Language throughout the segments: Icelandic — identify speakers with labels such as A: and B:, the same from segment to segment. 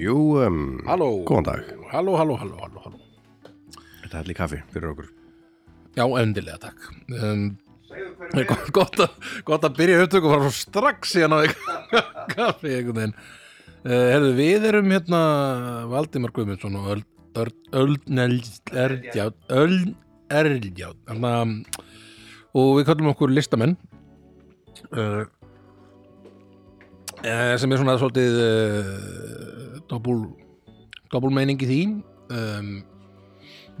A: Jú, um,
B: Halló.
A: góðan dag
B: Halló, halló, halló, halló, halló.
A: Þetta er allir kaffi fyrir okkur
B: Já, endilega, takk. Um, gott, gott, að, gott að byrja upptöku bara svo strax síðan á kaffi einhvern veginn. Uh, herðu, við erum hérna Valdimar Guðmundsson og Öl- Örn- Öln Eld- Erdjárn Öln Erdjárn hérna, og við kallum okkur listamenn uh, eh, sem er svona svolítið uh, doppul doppulmeining í því um,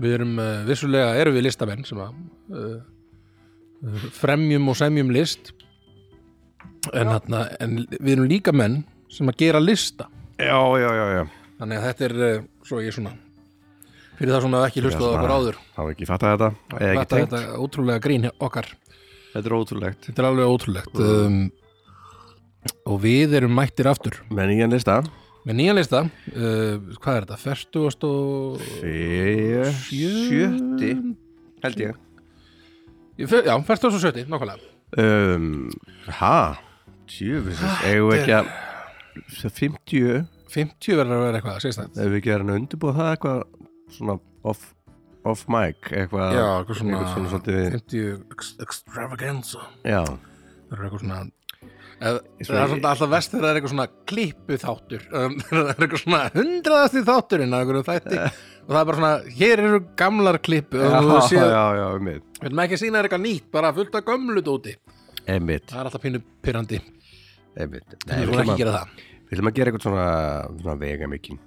B: við erum uh, vissulega erum við listamenn sem að uh, uh, fremjum og semjum list en, hérna, en við erum líka menn sem að gera lista
A: Já, já, já, já
B: þannig að þetta er uh, svo ég svona fyrir það svona ekki hlustað á
A: svona-
B: okkur áður
A: Það var ekki fattað þetta, eða ekki
B: þetta,
A: tengt
B: þetta er ótrúlega grín hjá okkar
A: Þetta er ótrúlegt
B: þetta er alveg ótrúlegt um, og við erum mættir aftur
A: Menningan lista
B: með nýjan lista uh, hvað er þetta, 40 og
A: Fyrir Sjötti Held ég
B: Ég fer- já, 40 og 70, nákvæmlega
A: um, Ha? Tjöfis Eigum við ekki að 50
B: 50 verður að vera eitthvað, segist það
A: Ef við ekki erum að undirbúa það eitthvað Svona off, off mic Eitthvað
B: Já, eitthvað svona,
A: eitthvað svona svolítið-
B: 50 ex extravaganza
A: Já,
B: Það er eitthvað svona eð,
A: Svo-
B: Það er svona alltaf vest þegar það er eitthvað svona klippu þáttur um, Það er eitthvað svona hundraðasti þátturinn af einhverju þætti og það er bara svona, hér eru gamlar klippu og þú
A: já,
B: séð,
A: já, já, einmitt
B: við veitum ekki að sína þér eitthvað nýtt bara fullt af gömlu dóti
A: Einmitt,
B: Það er alltaf pínu pyrrandi,
A: einmitt Nei,
B: við
A: við
B: viljum
A: ætlum
B: ekki
A: að,
B: gera það
A: við ætlum að gera eitthvað svona, svona vega mikinn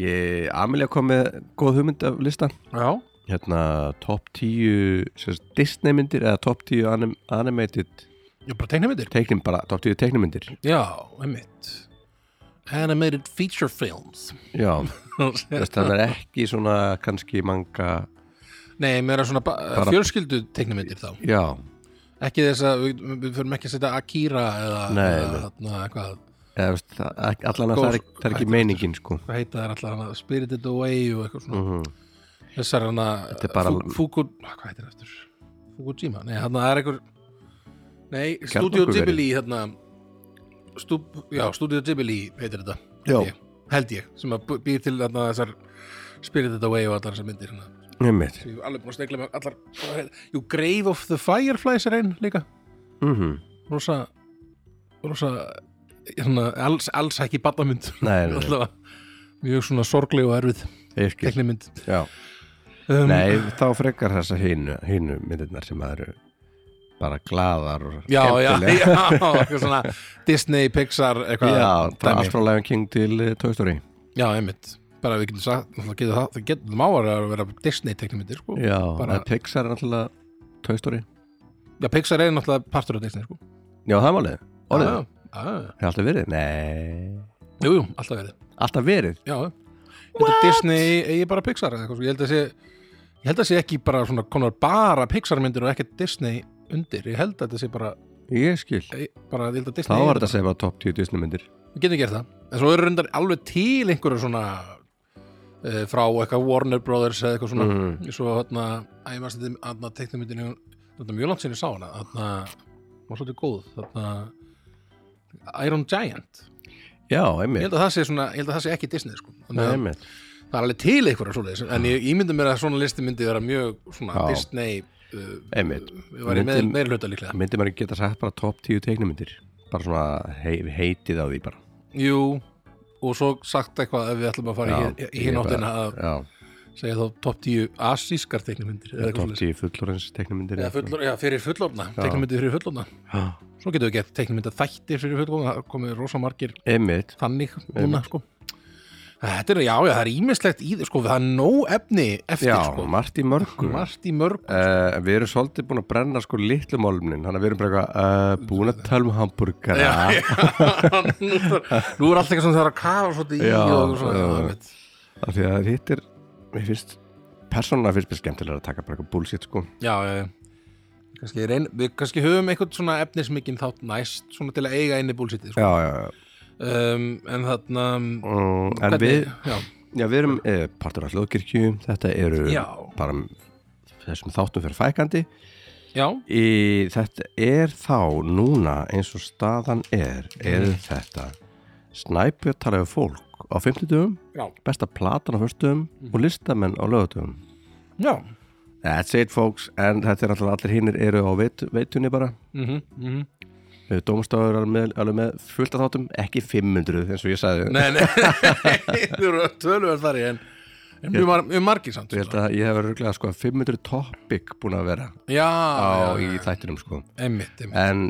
A: Ég, Amelia kom með góð hugmynd af lista
B: Já,
A: Hérna, top 10 sem sagt, Disney myndir eða top 10 anim, animated
B: ég bara tegna myndir
A: teiknum bara, top 10 teiknumyndir
B: Já, einmitt Animated feature films
A: Já, þess að það er ekki svona kannski manga
B: Nei, mér er svona bara,
A: Bara-
B: fjölskyldu teiknumyndir þá
A: Já,
B: ekki þess að við, við förum ekki að setja Akira eða,
A: Nei,
B: eða
A: nei.
B: þarna, eitthvað,
A: eða veist, það- ek- allan að
B: Góð-
A: það er, það er ekki meiningin sko
B: hvað heita þær alltaf hana Spirited Away og eitthvað svona
A: mm -hmm.
B: þessar hana
A: Þetta er bara-
B: Fu- Fuku, ah, hvað heitir það eftir Fukushima, nei hann er einhver nei, Studio
A: Kjarnorkuverið.
B: Ghibli hérna, stúb, já, Studio Ghibli heitir þetta,
A: Já.
B: held ég, held ég sem að bú- býr til hana, þessar Spirited Away og allar þessar myndir hana.
A: Einmitt
B: ég er alveg búin að stegla með allar Jú, Grave of the Fireflies er einn líka
A: mm
B: rosa rosa svona, alls, alls ekki badamynd
A: Nei, nei, nei.
B: Allavega mjög svona sorgleg og erfið
A: Ég skil
B: teknimynd
A: Já.
B: um,
A: Nei, þá frekar þessa hinu, hinu myndirnar sem það eru bara glaðar og
B: já, já,
A: skemmtilegar.
B: já, eitthvað svona Disney, Pixar, eitthvað
A: Já,
B: dæmi.
A: frá Astralion King til eh, Toy Story
B: já, einmitt bara við getum sagt, það getur það það getur máar að vera Disney teknimyndir sko.
A: Já,
B: Bara-
A: bara... Pixar er náttúrulega Toy Story
B: já, Pixar er náttúrulega partur af Disney sko.
A: Já, það er málið Orðið,
B: já, já, já.
A: hefur alltaf verið? Nei,
B: jú, jú, alltaf verið
A: alltaf verið
B: já, já. Ég held að Disney eigi bara Pixar eða eitthvað, svo. ég held að sé ég held að sé ekki bara svona konar bara Pixar myndir og ekki Disney undir ég held að þetta sé bara,
A: Ég skil
B: e- bara ég held að
A: Þá
B: Disney
A: var þetta að segja bara top 10 Disney myndir
B: við getum gert það, en svo eru reyndar alveg til einhverju svona e, frá eitthvað Warner Brothers eða eitthvað svona
A: Mhm.
B: svo hérna, að ég varst þetta aðna teiknumyndinu, þetta er um- mjög langt sinni sá hana þarna, var svolítið góð þarna Iron Giant,
A: Já,
B: ég
A: einmitt
B: held að það sé svona ég held að það sé ekki Disney sko
A: Nei,
B: Þannig að-
A: einmitt
B: það er alveg til einhverja svoleiðis en ég, ég myndi mér að svona listi myndi vera mjög svona
A: Já.
B: Disney uh,
A: Einmitt.
B: við varum með
A: Myndum-
B: meir hluta líklega
A: Myndi maður ekki geta sagt bara top 10 teiknumyndir Bara svona hei, heitið á því bara
B: jú, og svo sagt eitthvað ef við ætlum að fara í, í
A: ég
B: hináttina
A: bara-
B: að segja þá top 10 asískar teiknumyndir
A: Já,
B: eða
A: top
B: eitthvað svoleiðis
A: 10 fullorins teiknumyndir
B: Eða fullor, já, fyrir fullofna, teiknumyndir fyrir fullofna
A: Já.
B: svo getum við gett teiknumynda þættir fyrir fullofna það komið rosa margir
A: Einmitt
B: þannig núna sko Þetta er, já, já, það er ímislegt í því, sko, það er nóg efni eftir,
A: Já,
B: sko,
A: margt í mörgum
B: margt í mörg
A: Uh, við erum svolítið búin að brenna sko litlu málumnin, þannig að við erum bara eitthvað uh, búin að tala um hambúrgara
B: Já, já. nú er- nú er allt eitthvað sem það er að kafa svolítið í
A: Já,
B: og svona
A: já.
B: já, einmitt.
A: af því að hitt er, mér finnst persónulega finnst mér skemmtilega að taka bara eitthvað bullshit sko
B: já, já, já. kannski reyn, við kannski höfum eitthvað svona efnismikinn þátt næst svona til að eiga einni búlsiti sko.
A: já, já, já.
B: um, en þarna um,
A: Mm, en við,
B: hvernig- já,
A: já, við erum eh, partur af hljóðkirkju, þetta eru
B: Já.
A: bara þessum þáttum fyrir fækandi
B: já,
A: í, þetta er þá núna eins og staðan er er þetta snæpjötarlega fólk á 50
B: já,
A: besta platan á fyrstum
B: Mhm.
A: og listamenn á lögutum
B: já
A: That's it folks, en þetta er alltaf allir hinnir eru á veit, veitunni bara
B: mm
A: Dómstafur er alveg með, alveg með fullt af þáttum ekki 500 eins og ég sagði
B: Nei, nei, þú eru tölvöld þar í en, en mjög, mar mjög margir samt
A: Ég held að ég hef röglega sko 500 topic búin að vera
B: Já,
A: á,
B: já,
A: í
B: já,
A: þættinum sko
B: einmitt, einmitt
A: en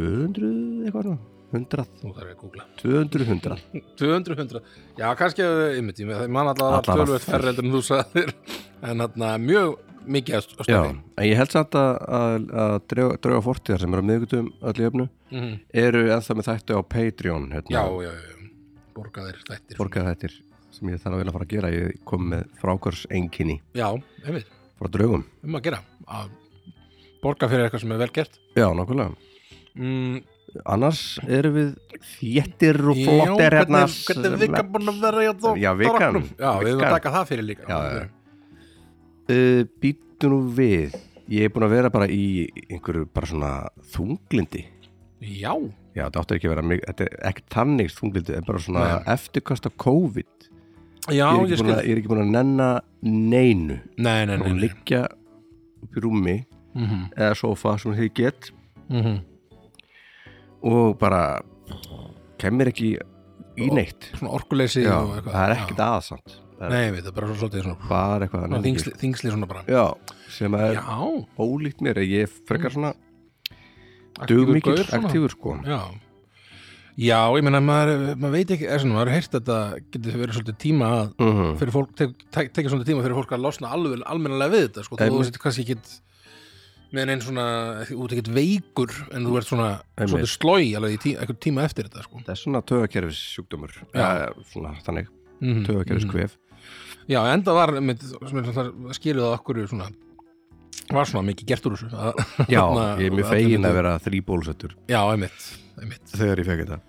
A: 200 eitthvað nú 100,
B: Nú þarf ég að googla
A: 200, 100
B: 200, 100, já kannski eh, einmitt, ég man allavega
A: Allavega
B: tölvöld færre heldur en þú sagðir en þarna mjög mikið að
A: Já,
B: stöði
A: en ég held samt að, að, að drauga, drauga fortíðar sem eru á miðgutum öll í öfnu
B: Mhm.
A: eru ennþá með þættu á Patreon
B: já,
A: hérna,
B: já, já, borgaðir þættir
A: borgað þættir sem ég þarf að vilja fara að gera ég kom með frákvörs einkinni
B: Já, einmitt,
A: frá draugum
B: um að gera að borga fyrir eitthvað sem er vel gert
A: Já, nokkulega
B: mm,
A: Annars erum við þéttir og
B: já,
A: flottir hérna
B: hvernig, hvernig er vikan búin að vera hjá þó
A: Já,
B: Já,
A: vikan,
B: við höfum að
A: vikan.
B: taka það fyrir líka
A: Já, já. uh, Býtu nú við Ég er búin að vera bara í einhverju bara svona þunglindi
B: já.
A: Já, þetta áttu ekki að vera mig, þetta er ekkert þannig þunglindi, en bara svona eftirkast af COVID
B: já
A: ég,
B: ég
A: er ekki búin
B: skil
A: að, ég er ekki búin að nenna neinu
B: Nei, nei,
A: og
B: nei, nei.
A: liggja upp í rúmi
B: Mm -hmm.
A: eða sofa sem þið get
B: mhm.
A: og bara kemur ekki í neitt
B: Svona orkuleysi
A: já,
B: og eitthvað
A: það er ekkert aðsamt
B: Já. Nei, við, það er bara svo svolítið svona
A: bara eitthvað
B: svona
A: nenni ekki.
B: þingsli, þingsli svona bara
A: já, sem er
B: Já, Mm.
A: ólíkt mér ég er frekar svona
B: aktífur
A: dugmikill,
B: gaur svona.
A: aktífur sko
B: Já Já, ég meina, maður, maður veit ekki, er svona, maður heyrst þetta getur verið svolítið tíma að
A: Mhm.
B: fyrir fólk, tek, tek, tekja svona tíma fyrir fólk að losna alveg almennilega við þetta sko. þú
A: Einmitt.
B: veist kannski ekki með einn svona, þú ert ekki veikur en þú ert svona,
A: Einmitt.
B: svona slói alveg í tí, eitthvað tíma eftir þetta sko.
A: það er svona tögakerfis sjúkdómur
B: Já.
A: ja, svona þannig,
B: mm
A: tögakerfis kvef
B: Já, enda var með, sem er svona skýrið að okkur svona var svona mikið gert úr þessu að,
A: já,
B: þarna-
A: ég er mjög fegin að vera þrý bólusettur
B: Já, einmitt, einmitt
A: þegar ég fekk þetta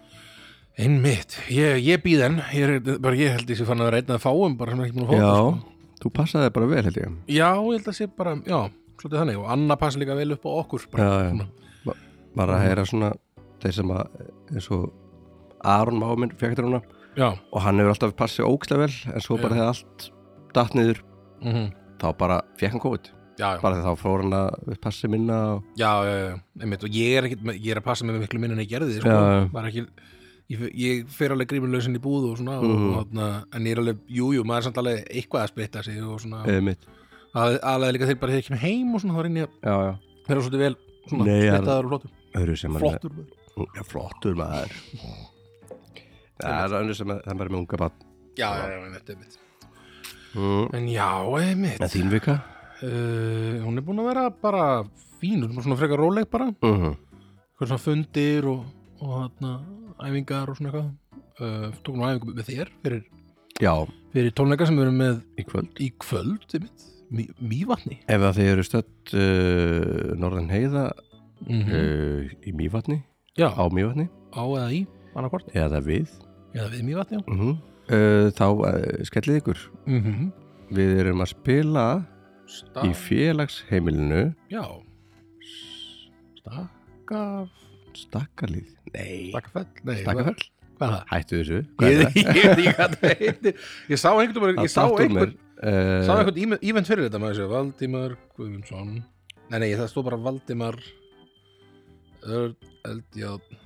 B: Einmitt, ég, ég býð enn ég, er, bara, ég held ég sé fann að vera einn að fáum bara sem er ekki múin að fá
A: já,
B: þetta, sko.
A: þú passaði bara vel held ég
B: já, ég held að sé bara, já, svolítið þannig og Anna passa líka vel upp á okkur bara,
A: Já, já.
B: svona.
A: Ma- maður að heyra svona þeir sem að eins og Aron Máminn fekk þetta núna
B: já.
A: og hann hefur alltaf passið ókslega vel en svo bara
B: Já.
A: þegar allt datt niður
B: Mm
A: þá bara fekk hann COVID
B: já, já.
A: bara þegar þá fór hann að við passið minna og...
B: já, já, já, einmitt og ég er, ekkit, með- ég er að passa mig miklu minn en ég gerði sko.
A: Já, já.
B: Var ekki, ég, fer- ég fer alveg gríminlausin í búð og svona
A: Mhm.
B: og, þarna, en ég er alveg, jú, jú, maður er samt alveg eitthvað að splitta sig og svona
A: eða mitt
B: að, alveg líka þeir bara þegar ég kem heim og svona þá reyni ég að
A: já, já.
B: vera svolítið vel svona
A: Nei, ég er-
B: splittaður og flottur
A: Öðru sem hann
B: flottur,
A: er, já, flottur maður það er öðru sem að það er með unga bann
B: já, já, já, einmitt, einmitt
A: mm.
B: en já, einmitt
A: en þín vika
B: uh, hún er búin að vera bara fín, hún er svona frekar róleg bara
A: mm -hmm.
B: hvað svona fundir og, og þarna, æfingar og svona eitthvað uh, tók nú æfingu með þér fyrir
A: já,
B: fyrir tónleika sem við erum með
A: í kvöld
B: í kvöld einmitt, Mý- Mývatni
A: ef að þið eru stödd uh, norðan heiða
B: mm
A: uh, í Mývatni,
B: já, á,
A: á Mývatni
B: eða í annarkvort,
A: eða við
B: eða við Mývatni já.
A: mm uh, þá uh, skellið ykkur
B: Mm -hmm.
A: við erum að spila í
B: Staf,
A: félagsheimilinu
B: já Stakaf
A: stakkalið nei,
B: Stakafell, nei,
A: stakkafell,
B: hvað- hvað er það?
A: hættu þessu
B: Ég, ég, ég, ég, ég, ég, ég sá einhvern ég sá einhvern, sá
A: uh,
B: einhvern ímen- ívent fyrir þetta maður þessu, Valdimar Guðmundsson nei, nei, það stóð bara Valdimar Örn Eldjátt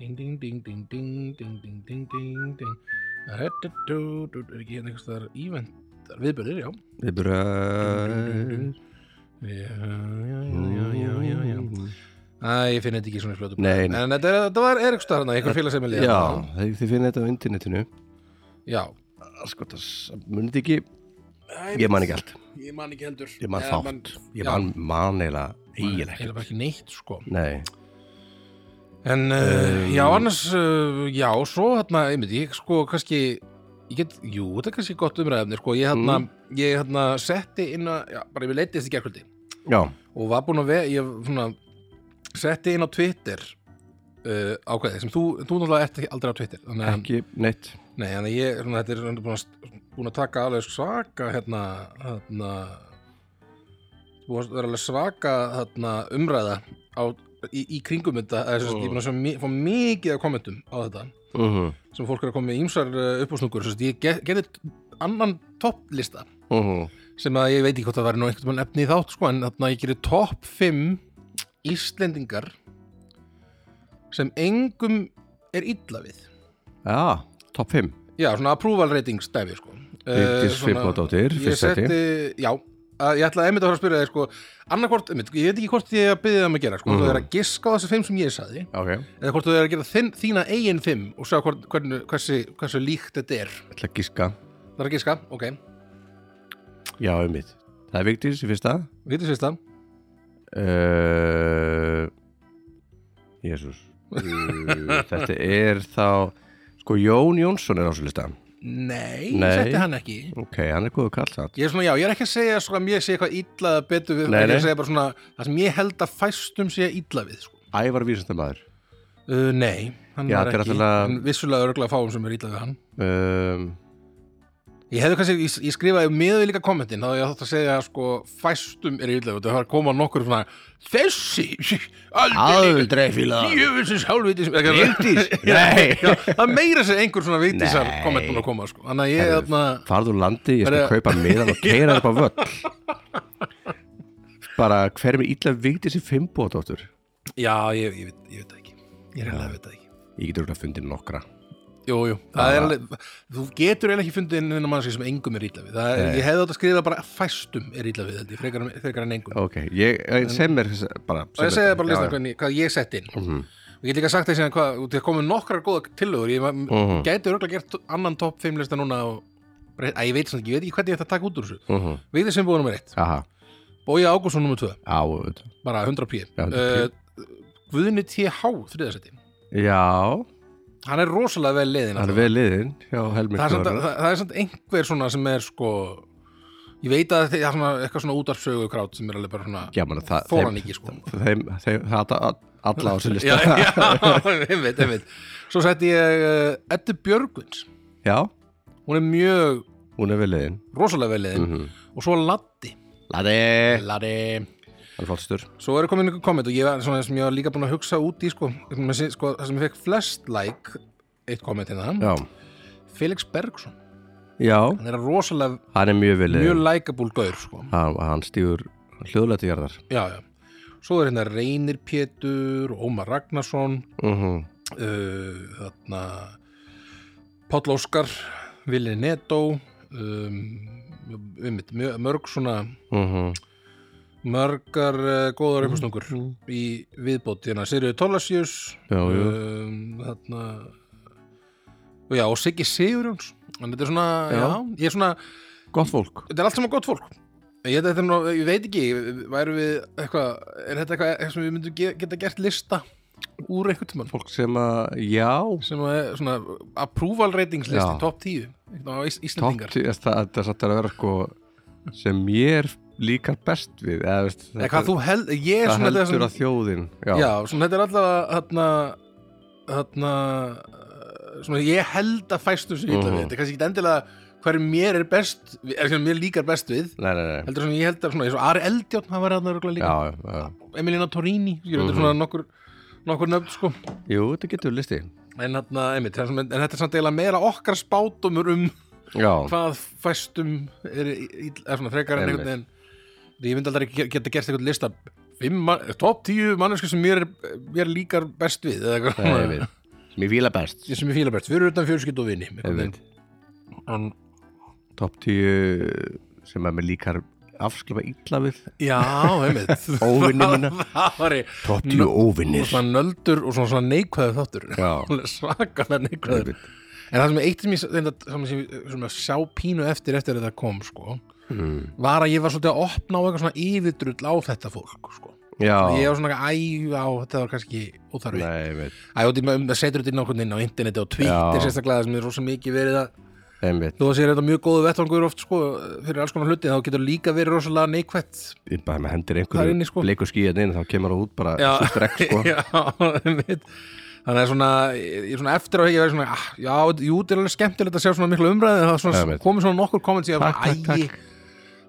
B: Ding, ding, ding, ding, ding, ding, ding, ding, ding, ding Ra-da-dú, dú, dú, Er ekki hérna einhvers þar ívent Viðbjörðir, já
A: við bara
B: Já, já, já, já, já, já Æ, ég finn þetta ekki í svona fljótu
A: Nei, nei.
B: En þetta, er, þetta var Eriks þar hana, einhver félag sem er
A: já, þið, þið finnir þetta á internetinu
B: Já
A: sko, það munið ekki ég man ekki allt,
B: Ég man ekki heldur
A: ég man
B: Eða
A: þátt ég
B: já.
A: man manneila eiginlega
B: Ég er
A: ekkert.
B: bara ekki neitt, sko
A: nei,
B: En uh, já, annars, uh, já, svo hérna, einmitt, ég sko kannski, ég get, jú, þetta er kannski gott umræðefni, sko, ég hérna, ég hérna setti inn að, já, bara ég leiti þessi gerkvöldi
A: já,
B: og var búin að veða, ég svona setti inn á Twitter uh, ákveðið sem þú, þú náttúrulega ert ekki- aldrei á Twitter þannig að,
A: ekki neitt
B: nei, þannig að ég, svona, þetta er svona búin að, búin að taka alveg svaka hérna, hérna búin að vera alveg svaka hérna, umræða á, í, í kringum þetta, eða sem sagt, ég er búin að sjá mi- fá mikið af kommentum á þetta
A: mm -hmm.
B: sem fólk er að koma með ýmsar uh, uppásnúkur sem sagt, ég ge- gerði annan topplista
A: Mm
B: Mhm.
A: -hmm.
B: sem að ég veit ekki hvort það væri nú einhvern veginn efni í þátt sko, en þarna ég gerir topp 5 Íslendingar sem engum er illa við
A: Já, topp 5
B: já, svona approval rating stæfi sko. Eh,
A: Vigdís
B: svona-
A: Finnbogadóttir,
B: Ég
A: fyrst seti.
B: setti- já, að- ég ætlaði einmitt að fara að spyrja þér sko, annarkvort, einmitt, ég veit ekki hvort ég að byrja það að gera, sko, mm.
A: Mhm.
B: þú er að giska á þessi 5 sem ég saði,
A: Ok, ég
B: eða hvort þú er að gera þinn, þína eigin 5 og sjá hvort, hvernig, hversi, hversu líkt þetta er
A: ætla að gíska
B: það er að giska, ok,
A: Já, um mitt Það er Vigdís í fyrsta
B: við getum sérst það
A: uh, Jésús uh, Þetta er þá Sko, Jón Jónsson er á svo lista
B: nei,
A: Nei.
B: nei. setti hann ekki
A: Ok, hann er góðu kall satt
B: Ég er svona, já, ég er ekki að segja sko, að mér sé eitthvað illa eða betur við,
A: Nei,
B: ég er
A: nei.
B: að segja bara svona það sem ég held að fæstum sé illa við sko.
A: Ævar Vísindamæður
B: uh, Nei, hann
A: Já,
B: var
A: þetta er
B: ekki
A: náttúrulega-
B: en vissulega örgulega fáum sem er illa við hann
A: um,
B: Ég hefði kannski, ég, ég skrifaði miður við líka kommentin þá ég þátt að segja sko, fæstum er illa við það var að koma nokkur svona þessi, aldrei
A: Aldrei fíla
B: jöfusins hálfvitis
A: Vigdís? Nei.
B: Það er meira sem einhver svona vitisar
A: Nei.
B: komment búin að koma sko. Þannig að ég, þarna,
A: Farðu úr landi, ég skal
B: Verðu-
A: kaupa miðan og keira upp á völl Bara hver er mér illa Vigdís í Finnbóðdóttur
B: já, ég, ég, veit, ég veit það ekki Ég er hefði veit það ekki
A: Ég getur að fundið nokkra
B: Jú, jú, það er alveg þú getur eiginlega ekki fundið inn innan mannski sem engum er ítla við, það er,
A: Nei.
B: ég hefði átt að skrifa bara fæstum er ítla við þetta, frekar, en- frekar en engum
A: Ok, ég eh, sem er þess- bara
B: og ég
A: sem
B: segja
A: er-
B: bara
A: já, Mhm.
B: listan
A: já.
B: hvernig, hvað ég sett inn og ég get líka sagt þess að hvað, það komið nokkrar góða tillögur, ég
A: Mhm.
B: mm. gæti örgulega gert annan topp 5 lista núna og, að ég veit svona ekki, ég veit ekki hvernig ég ætti að taka út úr þessu
A: Mhm.
B: við þessum búið nummer 1,
A: Aha,
B: Bója Ágússon nummer 2
A: á, auðvitað.
B: bara 100 pí
A: Já, 100p.
B: uh, Guðni TH, þriðasetti
A: já,
B: hann er rosalega vel leiðin
A: hann er vel liðin hjá Helming
B: það er, samt,
A: Þórðar.
B: það, það er samt einhver svona sem er sko ég veit að það er svona, eitthvað svona útarsögu krát sem er alveg bara svona
A: Já, mann, það
B: þóran ekki sko
A: þeim, þeim, það er alla á þessu
B: já,
A: lista
B: já, einmitt, einmitt svo setti ég uh, Eddu Björgvins
A: Já,
B: hún er mjög
A: hún er vel liðin
B: rosalega vel leiðin og svo Latti
A: Ladi,
B: Latti
A: hann er flottstur
B: svo eru komin einhver komment og ég var svona sem ég var líka búin að hugsa út í sko, sem ég- sko það sem ég fekk flest like eitt komment hérna,
A: Já,
B: Felix Bergson
A: já,
B: hann er rosalega
A: hann er mjög vel
B: mjög
A: liðin
B: likeable gaur sko
A: Hann, hann stígur hljóðlega til jarðar
B: já, já. svo er hérna Reynir Pétur Ómar Ragnarsson
A: mm -hmm.
B: uh, þarna Páll Óskar Vili Netó um, um, mörg svona
A: Mm -hmm.
B: mörgar uh,
A: Mm,
B: góðar uppstungur í viðbót hérna Sirju Tólasjus
A: Já, já.
B: þarna og já, og Siggi Sigurjóns en þetta er svona,
A: Já.
B: já, ég er svona
A: Gott fólk
B: þetta er allt saman gott fólk ég, þetta er nú, ég veit ekki væru við eitthvað, er þetta eitthvað, eitthvað sem við myndum ge- geta gert lista úr eitthvað tímann
A: Fólk sem að, já
B: sem að er svona approval ratings listi,
A: Já.
B: top 10 eitthvað á Ís-
A: Topp,
B: Íslendingar
A: það, það er satt að vera sko sem mér líkar best við eða, veist,
B: eða hvað þú held, ég er
A: það
B: svona
A: heldur
B: þetta er svona-
A: að þjóðin já,
B: já, svona þetta er allavega þarna, þarna eh, svona ég held að fæstu sem illa við
A: Mhm.
B: þetta er kannski ekki endilega hver mér er best við- er sem mér líkar best við
A: Nei, nei, nei.
B: heldur svona, ég held að svona, eins og Ari Eldjárn hann var þarna örugglega líka
A: já, já, já.
B: Emilina Torini skilur, þetta er
A: Mhm.
B: svona nokkur, nokkur nöfn sko.
A: Jú, þetta getur listi
B: en, þarna, einmitt, það er svona- en þetta er samt eiginlega meira okkar spátumur um
A: Já,
B: hvað fæstum er, í- í- er svona frekar en
A: Einmitt.
B: einhvern veginn ég myndi aldrei ge- geta gert eitthvað lista fimm man- topp tíu mannesku sem mér, er- mér líkar best við eða eitthvað
A: það er
B: svona.
A: við sem ég fíla best
B: Ég sem ég fíla best, fyrir utan fjörskild og vini einhvern
A: Einmitt.
B: veginn. En-
A: Top 10 sem að mér líkar afsklifa illa við
B: já, einmitt
A: Óvinni minna.
B: það var ég
A: Top 10
B: og
A: óvinnir
B: svona nöldur og svona, svona neikvæðu þáttur
A: Já.
B: Alveg svakalega neikvæður
A: Einmitt.
B: En það sem er eitt sem ég, reynda, sem ég sem ég sjá pínu eftir eftir að það kom sko,
A: Mm.
B: var að ég var svolítið að opna á eitthvað svona yfirdrull á þetta fólk sko. ég
A: Já,
B: var svona eitthvað, æ, á, þetta var kannski óþarfi.
A: nei, við
B: Æ, og því maður- það setur þetta inn á einhvern veginn á interneti og Twitter
A: Já.
B: sérstaklega sem er rosa mikið verið að
A: einmitt,
B: Þú að sér þetta mjög góðu vettvangur oft sko, fyrir alls konar hluti þá getur líka verið rosalega neikvætt
A: ég bara með
B: Það
A: hendir
B: er
A: einhverju
B: inni, sko.
A: bleiku skíðan inn þá kemur það út bara
B: Já.
A: svo strekk sko
B: Já, einmitt. Þannig að svona, ég er svona eftir á hekja verið svona, ah, já, jú, þetta er alveg skemmtilegt að sjá svona miklu umræði, það er svona,
A: Einmitt.
B: komið svona nokkur komment síðan,
A: Takk, takk,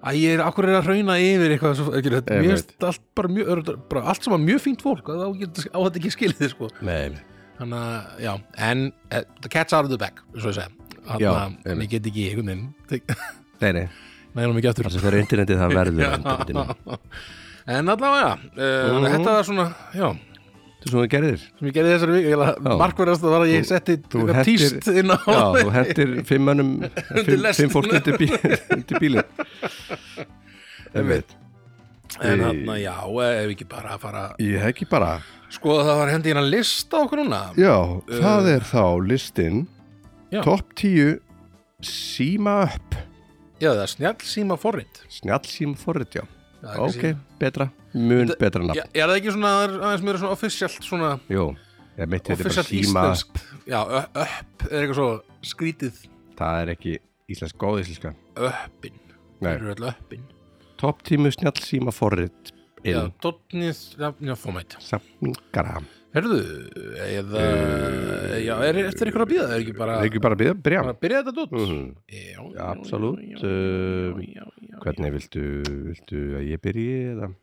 B: æ, æ, ég er, akkur er að hrauna yfir eitthvað, svo, ekki, þetta, mér
A: Einmitt.
B: finnst allt bara mjög, er, bara allt saman mjög fínt fólk, það á, ekki- á þetta ekki skilið, sko.
A: Nei,
B: Þannig að, já, en, eh, the cat's out of the bag, svo ég segja, þannig
A: Já,
B: að
A: einmitt.
B: ég get ekki einhvern veginn, tek-
A: nei, nei,
B: nægum ekki aftur.
A: það sem fyrir internetið það verður
B: Já.
A: internetinu.
B: En allavega, uh,
A: Mhm.
B: þetta var svona, já,
A: Þetta er svona þú gerðir
B: sem ég gerði þessari viku
A: Já.
B: markverðast var að ég setti
A: þú
B: eitthvað
A: hettir-
B: tíst inn á
A: Já, þú hettir fimm mönnum fimm,
B: lestina.
A: fimm fólk undir, bí, undir bílinn Einmitt
B: en þarna já, eh, ef ekki bara að fara
A: Ég hef ekki bara Eh.
B: sko það var hendi hérna list á okkur núna
A: Já, það er þá listin
B: Já.
A: Top 10 síma upp
B: já það er snjall síma forrit
A: Snjallsíma forrið, já
B: Það er
A: Ok,
B: kannski-
A: betra, mun
B: Þetta-
A: betra
B: Já,
A: nafn
B: er það ekki svona það er aðeins mér svona officialt svona
A: Jú, ég mitt þetta er bara
B: officialt
A: síma upp
B: íslenskt já, ö- upp er eitthvað svo skrítið
A: Það er ekki íslensk góð íslenska
B: uppin
A: Nei.
B: eru öll uppin
A: Top 10 snjallsíma forrið
B: já,
A: inn
B: dotnið já, já, fómætt
A: Samningara
B: herðu eða já, er eftir eitthvað að býða er ekki bara
A: Það Eh, er ekki bara að byrja, byrja
B: bara að byrja þetta dot
A: Mhm.
B: Já, já,
A: Absolutt,
B: já, já, já,
A: um,
B: já, já,
A: Hvernig viltu, viltu að ég byrji eða?
B: já.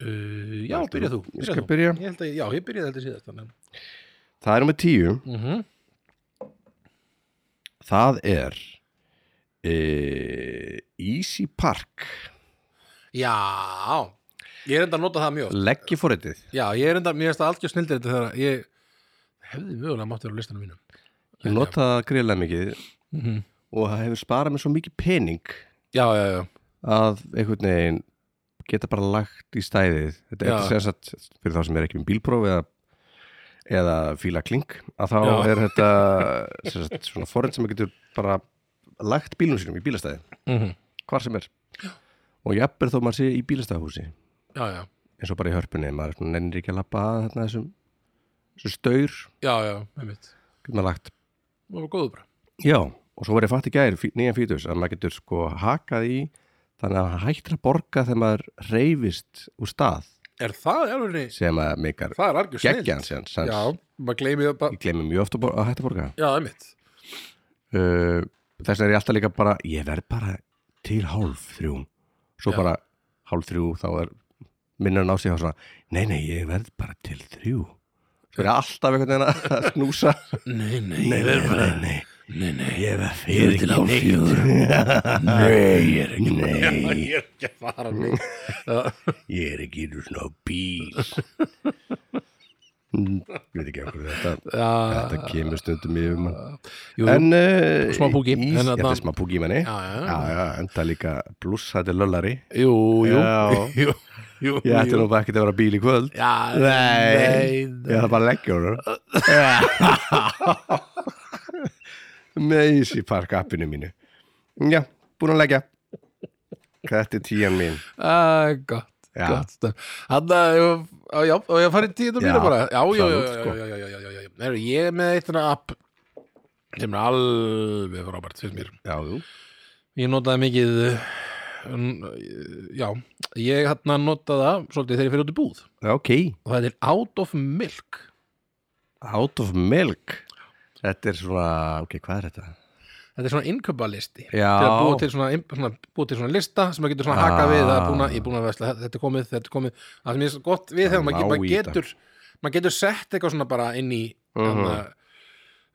B: Uh, já, byrja þú
A: Ég
B: byrja
A: skal
B: þú.
A: byrja.
B: ég held að, Já, ég byrjaði þetta síðast þannig.
A: Það er nummer tíu.
B: Mm -hmm.
A: Það er e, Easy Park.
B: Já Ég er enda að nota það mjög oft.
A: Leggi fóritið.
B: Já, ég er enda, mér finnst það algjör snildir þetta þegar að ég hefði mögulega mátt vera á listanum mínum
A: Ég nota það greiðlega mikið
B: mm
A: og það hefur sparað mér svo mikið pening
B: Já, já, já,
A: að einhvern veginn geta bara lagt í stæðið. Þetta
B: Já.
A: er sem sagt, fyrir þá sem er ekki með bílpróf eða eða fíla kling að þá
B: Já.
A: er þetta sem sagt, svona forrið sem maður getur bara lagt bílum sínum í bílastæði
B: mm
A: Mhm.
B: -hmm.
A: hvar sem er og jafnvel þó maður sé í bílastæðahúsi
B: já, já,
A: eins og bara í hörpunni maður svona nennir ekki að lappa að þarna þessum, þessum staur
B: já, já, með mitt
A: getur maður lagt
B: Það var góðu bara
A: já og svo var ég fatt í gæri nýjan fítus að maður getur sko hakað í þannig að hann hættir að borga þegar maður reyfist úr stað
B: Er það, er það,
A: sem að meikar
B: það er algjör snild
A: geggjan sem sem
B: Já, maður gleymið það bara
A: ég glemur mjög oft að, bor- að hætta að borga
B: Já, með mitt
A: uh, þess vegna er ég alltaf líka bara ég verð bara til hálf þrjú svo
B: Já.
A: bara hálf þrjú þá er minnar ná sig á svona nei nei ég verð bara til þrjú svo er ég alltaf einhvern veginn að snúsa
B: Nei, nei,
A: nei nei nei, nei.
B: nei, nei.
A: Ég verð fyrir
B: til hálf
A: fjögur Nei, ég er ekki Nei,
B: Ég er ekki að fara neitt. Já.
A: ég er ekki einu svona á bíl Mm, Ég veit ekki af hverju þetta
B: Já,
A: Þetta kemur stundum yfir mann
B: jú,
A: En uh,
B: Smá púki,
A: ís,
B: en
A: en, Þetta
B: þarna-
A: er smá púki í manni
B: já, já,
A: Já, já, en það er líka pluss, þetta er löllari
B: jú, jú,
A: Já.
B: jú, jú,
A: Ég ætti
B: jú.
A: nú bara ekkert að vera bíl í kvöld
B: Já, nei,
A: Nei. Ég ætla bara að leggja honum Með Easy Park appinu mínu Já, búin að leggja Þetta er tíjan mín
B: Æ, Ah, gott,
A: Já.
B: gott stöf Þannig að ég- á- já, og ég farið tíð og
A: Já,
B: mínu bara Já, já, já,
A: absolutt,
B: já,
A: sko.
B: já, já, já, já, já, já, já. Heru, Ég er með eitt þennan app sem er alveg frábært fyrir mér
A: Já, jú
B: Ég notaði mikið uh, n- Já, ég hann notaði það svolítið þegar ég fyrir út í búð
A: Ok,
B: og það er Out of Milk
A: out of milk Þetta er svona, ok, hvað er þetta?
B: Þetta er svona innkaupalisti
A: Já.
B: til að búa til svona, inn- svona, búa til svona lista sem maður getur svona hakað við
A: Ah.
B: að búna, ég er búin að vesla, þetta er komið, þetta er komið það sem er svo gott við þegar maður,
A: má
B: maður
A: í
B: getur maður getur sett eitthvað svona bara inn í
A: Mhm.
B: hana,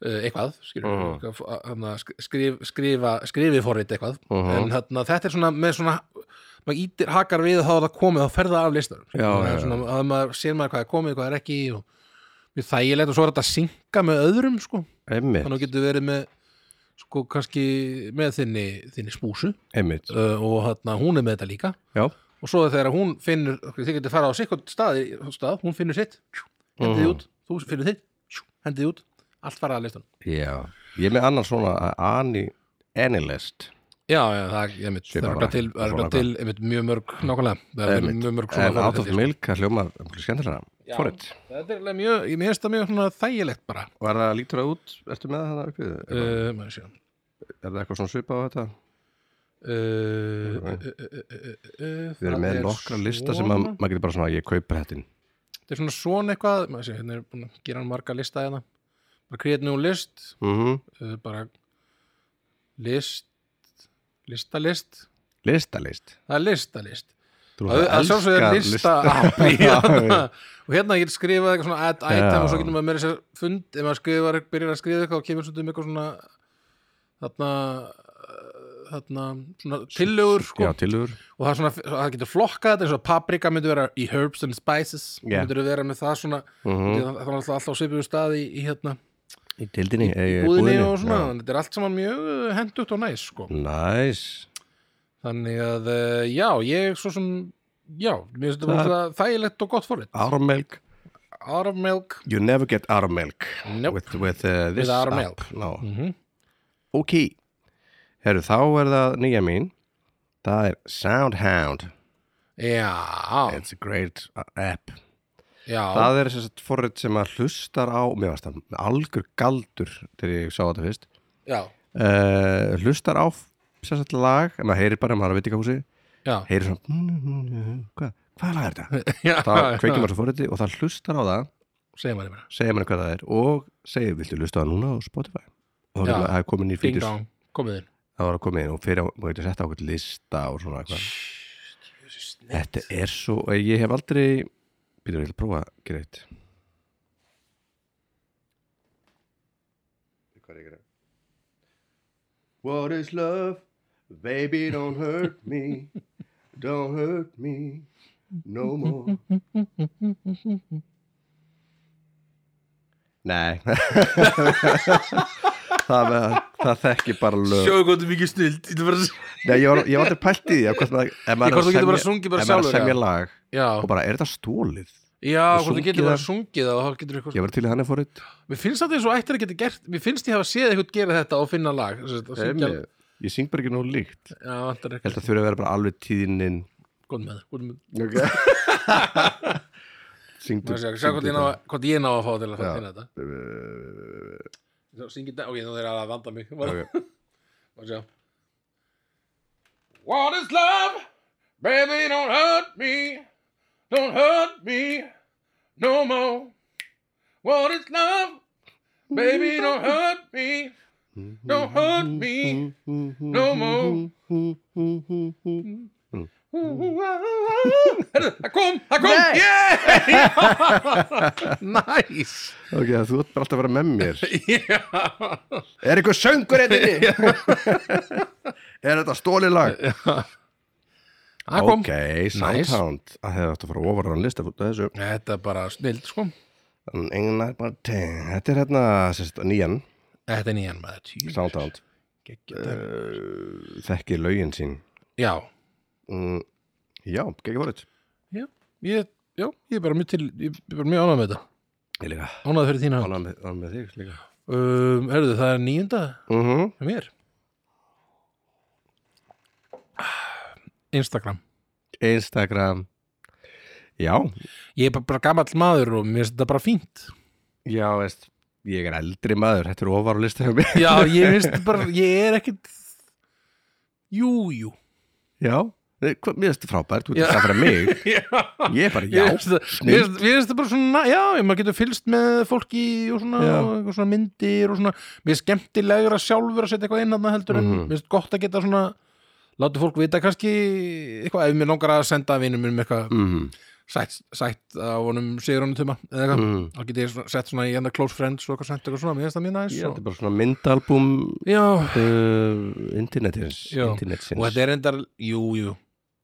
B: uh, eitthvað skilur,
A: Mhm.
B: uh hana, sk- skrif, skrifa, skrifi forrið eitthvað
A: Mhm.
B: en hana, þetta er svona með svona maður ítir hakar við að þá er það komið þá ferða af listar
A: Já, já, já.
B: svona, að maður sér maður hvað er komið, hvað er ekki og mjög þægilegt og svo er þetta að synka með öðrum sko
A: Einmitt,
B: þannig að þú getur verið með sko kannski með þinni, þinni spúsu
A: einmitt
B: uh, og hérna, hún er með þetta líka
A: Já,
B: og svo þegar hún finnur, þið getur fara á sikkert stað, stað, hún finnur sitt hendið
A: Mhm.
B: út, þú finnur þitt hendið út, allt farað að listan
A: já Ég er með annan svona ani, Anilest
B: Já, já, það er einmitt, það
A: Svipað
B: er örugglega
A: bara,
B: til, það er
A: svona
B: örugglega til einmitt, mjög mörg, nákvæmlega, það er
A: Einmitt.
B: mjög mörg
A: En
B: svona
A: out
B: forrit,
A: of
B: sko.
A: milk, það hljóma skemmtilega
B: Já.
A: Forrið
B: Þetta er alveg mjög, ég mér finnst það mjög svona þægilegt bara
A: Var það lítur það út, ertu með það uppið? Uh,
B: uh, maður Eh, sé.
A: er það eitthvað svona svipað á þetta?
B: uh, uh, uh, uh, uh,
A: Við erum
B: það
A: með
B: er
A: nokkra lista sem að,
B: svona-
A: maður getur bara svona ég kaupa hettin
B: Þetta er svona svona eitthvað maður sé, hérna er búin að gera hann marga lista hérna bara create new list
A: mm
B: uh, bara list listalist
A: Listalist
B: það er listalist
A: Þú
B: Það
A: náttúrulega
B: það sjálfsögðu er
A: elskar
B: lista app í hérna. og hérna getur skrifað eitthvað svona add item
A: Já.
B: og svo getur maður meira sér fund ef maður skrifar, byrjar að skrifa eitthvað og kemur svolítið um eitthvað svona þarna uh, þarna svona tillögur sko.
A: Já, tilur
B: og það, er svona, það getur flokkað þetta eins og paprika myndi vera í herbs and spices
A: Já.
B: yeah. myndir vera með það svona
A: Mhm.
B: það það var alltaf, alltaf á svipuðu stað í, í hérna
A: Í tildinni Í
B: búðinni og svona, þannig að þetta er allt saman mjög uh, hendugt og næs sko.
A: Næs
B: þannig að uh, já, ég svo sem já, mér finnst þetta
A: Það-
B: bara þægilegt og gott forrið
A: Ármelk
B: out of milk
A: You never get ármelk
B: Nope.
A: With, with uh, this
B: Without
A: app
B: milk.
A: no.
B: Mhm.
A: Ok Herru, þá er það nýja mín Það er Soundhound
B: já,
A: It's a great uh, app
B: já,
A: Það er sem sagt forrið sem að hlustar á Mér varst það algjör galdur Þegar ég sá þetta fyrst
B: já,
A: uh, Hlustar á sem sagt lag En maður heyrir bara, maður veit ekki hvað húsi
B: já
A: Heyrir svona Hvað, hvað lag er þetta?
B: já,
A: þá kveikir maður svo forriti og það hlustar á það
B: segir maður bara,
A: segir manni hvað það er og segir, viltu hlusta á það núna á Spotify og
B: Já.
A: það er komin í
B: ding
A: fítus
B: dong, komið inn
A: það var að koma inn og fyrir, maður getur sett á okkur lista og svona eitthvað þetta er svo, eh, ég hef aldrei býtum við að prófa að gera eitt What is love? Baby don't hurt me Don't hurt me No more Nei það, það þekki bara lög
B: sjóðu hvað þetta er mikið snild
A: Nei, ég var, ég var aldrei pælt í því að hvort maður, ef
B: Ég hvort þú getur
A: maður er að
B: bara
A: semja-
B: sungið bara
A: ef maður
B: sjálfur,
A: er að
B: já.
A: semja lag
B: já,
A: og bara, er þetta stólið?
B: já,
A: og
B: hvort þú
A: sungið
B: getur bara
A: það.
B: sungið það og þá getur eitthvað
A: Ég var til í hann eða fórið
B: Mér finnst þetta eins og ættir að geta gert Mér finnst ég hafa séð eitthvað gera þetta og finna lag sem sagt, að syngja-
A: Ég syng bara ekki nóg líkt
B: Já, vantar
A: Ég
B: eitthvað
A: held að þurfa að vera bara alveg tíðnin
B: Góð með það
A: Ok Syngdu
B: Sjá hvort ég ná að- hvort ég ná að fá til að
A: Já.
B: finna þetta
A: uh,
B: Sjá, Syngi þetta, ok, nú þeir að vanda mig Bara-
A: okay.
B: bara sjá. What is love? Baby don't hurt me Don't hurt me No more What is love? Baby don't hurt me Don't hurt me No more Herðu, Það kom, það kom
A: Nei.
B: yeah! Næs
A: ok, þú ætti bara alltaf að vera með mér
B: Já,
A: Er eitthvað söngur einnig? er þetta stólið lag?
B: það kom
A: Ok, Soundhound að hefði átt að fara ofar á hann lista út af þessu
B: Þetta er bara snild, sko
A: En Engin er bara teng Þetta er hérna sérst, nýjan
B: Þetta er nýjan maður tjú
A: Soundhound
B: Geggjað.
A: uh, Þekki lögin sín
B: Já,
A: mm, Já, geggjum voruð
B: já, ég, já, ég er bara mjög til Ég er bara mjög ánægð með þetta
A: Ég líka
B: Ánægð fyrir þína hönd
A: Ánað með, ánað með þig líka
B: um, Herðu, það er nýjunda
A: mm -hmm.
B: hjá mér Instagram
A: Instagram Já,
B: Ég er bara, bara gamall maður og mér finnst þetta bara fínt
A: já, veist Ég er eldri maður, þetta er ofar á lista hjá mér
B: Já, ég finnst bara, ég er ekkit Jú, jú
A: Já, Eh, hvað- mér finnst þetta frábært Þú ert
B: Já.
A: að staðfæra mig
B: Já
A: Ég er bara, já,
B: Mér finnst það- mér finnst- mér finnst það bara svona já, ég- maður getur fylgst með fólki og svona,
A: Já.
B: og eitthvað svona myndir og svona, mér er skemmtilegur að sjálfur að setja eitthvað inn aðna heldur en
A: Mhm.
B: mér finnst gott að geta svona láta fólk vita kannski eitthvað ef mér langar að senda vinum minn eitthvað
A: mm,
B: sætt, sætt á honum Sigurðanum Tuma eða eitthvað,
A: mm.
B: þá get ég svona, sett svona í enda close friends og eitthvað sent eitthvað svona, mér finnst það mjög næs
A: Ég
B: og,
A: ætti bara svona myndalbum
B: já,
A: uh, internetins,
B: Já.
A: internetsins
B: og þetta er endar, jú, jú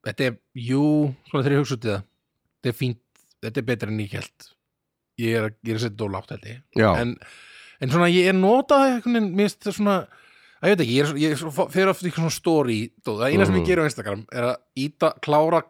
B: þetta er, jú, svona þegar ég hugsa út í það þetta er fínt, þetta er betra en ég held ég er, að- ég er að setja þetta á lágt held ég
A: já,
B: en, en svona ég er notað einhvern veginn, mér finnst það svona að ég veit ekki, ég, er, svo- ég er svo, fyrir aftur eitthvað svona story dót, það eina sem
A: Mhm.
B: ég gerir á Instagram er að íta, klára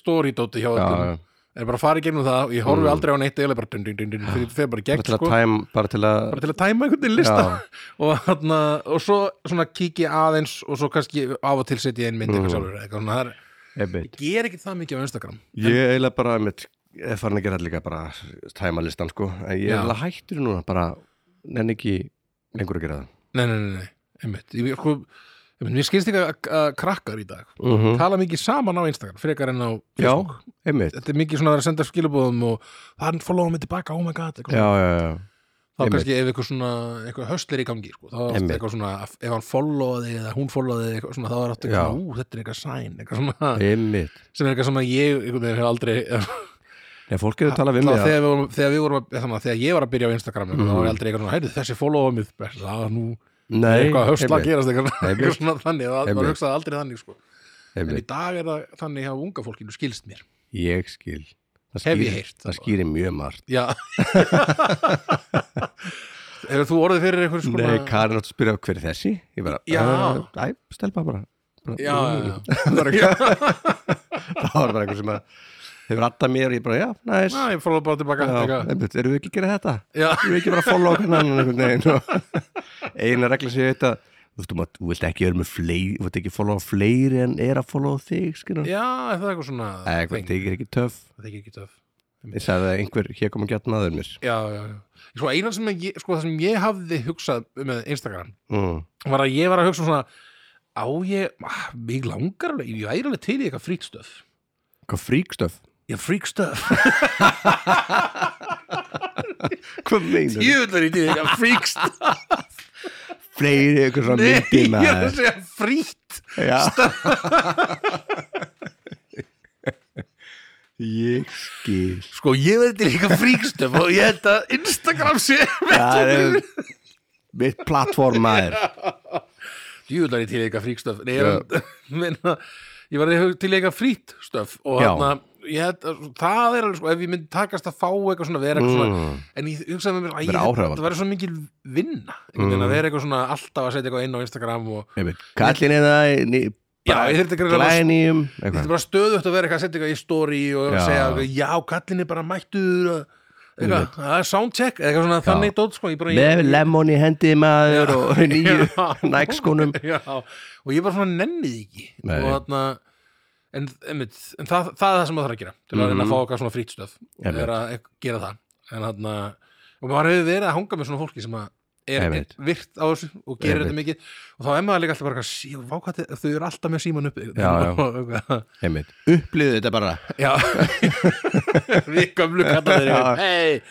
B: story dóti hjá
A: já,
B: öllum,
A: já.
B: er bara að fara í gegnum það og ég horfi
A: Mhm.
B: aldrei á neitt eða bara dun, dun, dun, dun, fyrir, fyrir bara í
A: bara
B: gegn
A: til að
B: sko,
A: tæm bara til að
B: bara til að tæma einhvern veginn lista
A: Já.
B: og, hana, og svo svona kíki aðeins og svo kannski af og til setja ég einn mynd
A: Mhm.
B: eitthvað sjálfur eða eitthvað, svona, það er,
A: einmitt.
B: ger ekki það mikið á Instagram
A: ég er eiginlega bara einmitt, er farin að gera þetta líka bara tæma listan sko en ég
B: Já.
A: er eiginlega hættur núna bara nenni ekki lengur að gera það
B: nei, nei, nei, nei. einmitt, ég, sko, einmitt, mér skilst ekki að, að krakkar í dag
A: mm
B: tala mikið saman á Instagram, frekar en á
A: Já,
B: Facebook.
A: einmitt
B: Þetta er mikið svona að vera að senda skilabóðum og hann followa mig tilbaka, oh my god, eitthvað
A: Já, já, já,
B: þá
A: Einmitt.
B: kannski ef eitthvað svona eitthvað höstlir í gangi sko, þá er oft
A: Einmitt.
B: eitthvað svona ef hann followaði eða hún followaði eitthvað svona, þá er oft
A: Já.
B: eitthvað, ú, þetta er eitthvað sæn eitthvað svona,
A: einmitt
B: sem er eitthvað sem að ég einhvern veginn hef aldrei
A: Nei, fólk eru að tala við
B: Þá
A: mig að
B: þegar, við vorum, þegar við vorum að, þannig, að þegar ég var að byrja á Instagram
A: Mhm.
B: þá var ég aldrei eitthvað svona, heyrðu, þessi followa mig það er nú
A: Nei,
B: eitthvað að höstla að
A: einmitt,
B: gerast eitthvað,
A: Einmitt.
B: eitthvað svona þannig, það
A: Einmitt.
B: var hugsaði aldrei þannig sko. en í
A: einmitt
B: dag er það þannig hjá unga fólkinu skilst mér
A: Ég skil Það
B: Hef ég
A: skýrir-
B: heyrt.
A: Það skýrir mjög margt
B: Já Hefur þú orðið fyrir einhverjum sko
A: Nei, Karin átt að spyrja hver er þessi Ég bara,
B: Já.
A: "Eh, æ, stelpa bara Bara-
B: Já, já, já.
A: Það var ekki- Það var bara eitthvað sem að hefur rattað mér og ég bara, já, næs
B: Næ, ég fór það bara tilbaka
A: Já,
B: eitthvað.
A: einmitt, erum við ekki að gera þetta?
B: Já,
A: Ég vil ekki bara follow okkur annan einhvern veginn og eina regla sem ég veit að þú veist, þú mátt- þú vilt ekki vera með fleiri þú vilt ekki follow fleiri en er að follow þig skilur
B: já, er það eitthvað svona
A: eitthvað,
B: þeng?
A: þig er ekki töff
B: Það þykir ekki töf
A: ég sagði að einhver hér kom að geta naður mér
B: Já, já, já Sko, einan sem ég, sko, það sem ég hafði hugsað með Instagram
A: mm.
B: var að ég var að hugsa um svona á ég, ah, mig langar alveg ég væri alveg til í eitthvað fríkt stöf
A: hvað fríkstöf
B: Já, fríkt stöf
A: hvað meinar
B: Ég vil verið í eitthvað fríkt stöf
A: fleiri eitthvað svona
B: Nei,
A: myndi
B: ég er að
A: maður
B: segja fríkt
A: já ég skil
B: Sko, ég verið til í eitthvað fríkt stöf og ég held að Instagram sé
A: það er mitt plattform maður
B: djúðlari til eitthvað fríkstöf Nei,
A: Já.
B: ég, menna, ég var til eitthvað frítt stöf og
A: Já.
B: þarna ég, held að- það er alveg sko, ef ég myndi takast að fá eitthvað svona vera eitthvað
A: Mm.
B: svona en ég hugsaði með mér, æ,
A: Vera Mm. áhrifavald.
B: það verður svo mikil vinna, einhvern veginn að vera eitthvað svona alltaf að setja eitthvað inn á Instagram og
A: einmitt, kallin er það
B: Já, ég þyrfti að greiða-
A: glænýjum
B: þetta er bara stöðugt að vera eitthvað að setja eitthvað í story og
A: Já.
B: segja, eitthvað, já, kallin er bara mættur og eitthvað, það er soundcheck eða eitthvað svona þannig dót, sko, ég bara ég-
A: með lemon í hendi maður og nýju nækskónum
B: já, og ég bara svona nennið ekki
A: Nei.
B: og þarna en, einmitt, en það, það er það sem maður þarf að gera til að reyna að fá okkar svona frítstöð
A: Mhm. Einmitt.
B: er að gera það en þarna, og maður hefur verið að hanga með svona fólki sem að er
A: Einmitt.
B: virt á þessu og gerir
A: Einmitt.
B: þetta mikið og þá er maður líka alltaf bara eitthvað, sí, vá, hvað, þau- þau eru alltaf með síman uppi
A: Já, já.
B: já.
A: einmitt, upplýðu þetta bara
B: já. við gömlu kallar þeir
A: Já.
B: hey,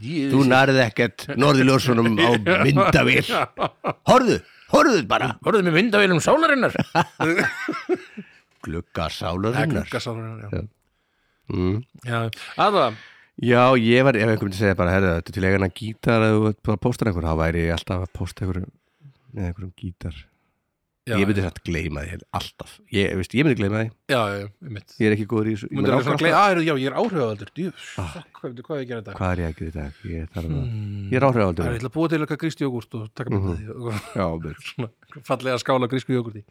B: ég-
A: þú nærið ekkert norðiljósunum á myndavél horðu, horðu bara
B: Voruðu með myndavélum sálarinnar?
A: glugga
B: Það
A: sálarinnar
B: klukka sálarinnar, já.
A: mm.
B: Já, aðvað
A: já, ég var, ef einhvern veginn segja bara herðu, þetta er til eigana gítar að þú ert bara að pósta einhver, þá væri ég alltaf að pósta einhver með einhverjum gítar
B: já,
A: ég myndi satt gleyma því, alltaf ég, veist, ég myndi gleyma því,
B: Já, já, ég mitt
A: ég er ekki góður í þessu
B: Mundur
A: Ég mun
B: alveg svona
A: ákafast-
B: gleyð, aðeins, já, ég er áhrifavaldur Djú, fuck, hvað, hvað er ég að gera þetta?
A: Ah. hvað er ég að gera í dag,
B: Hmm,
A: ég þarf að ég er
B: Það er
A: áhrifaldur
B: eitthvað að búa til eitthvað grísku jógurt og taka
A: Mhm.
B: myndið því og
A: já, mér
B: svona fallega skála grísku jógurti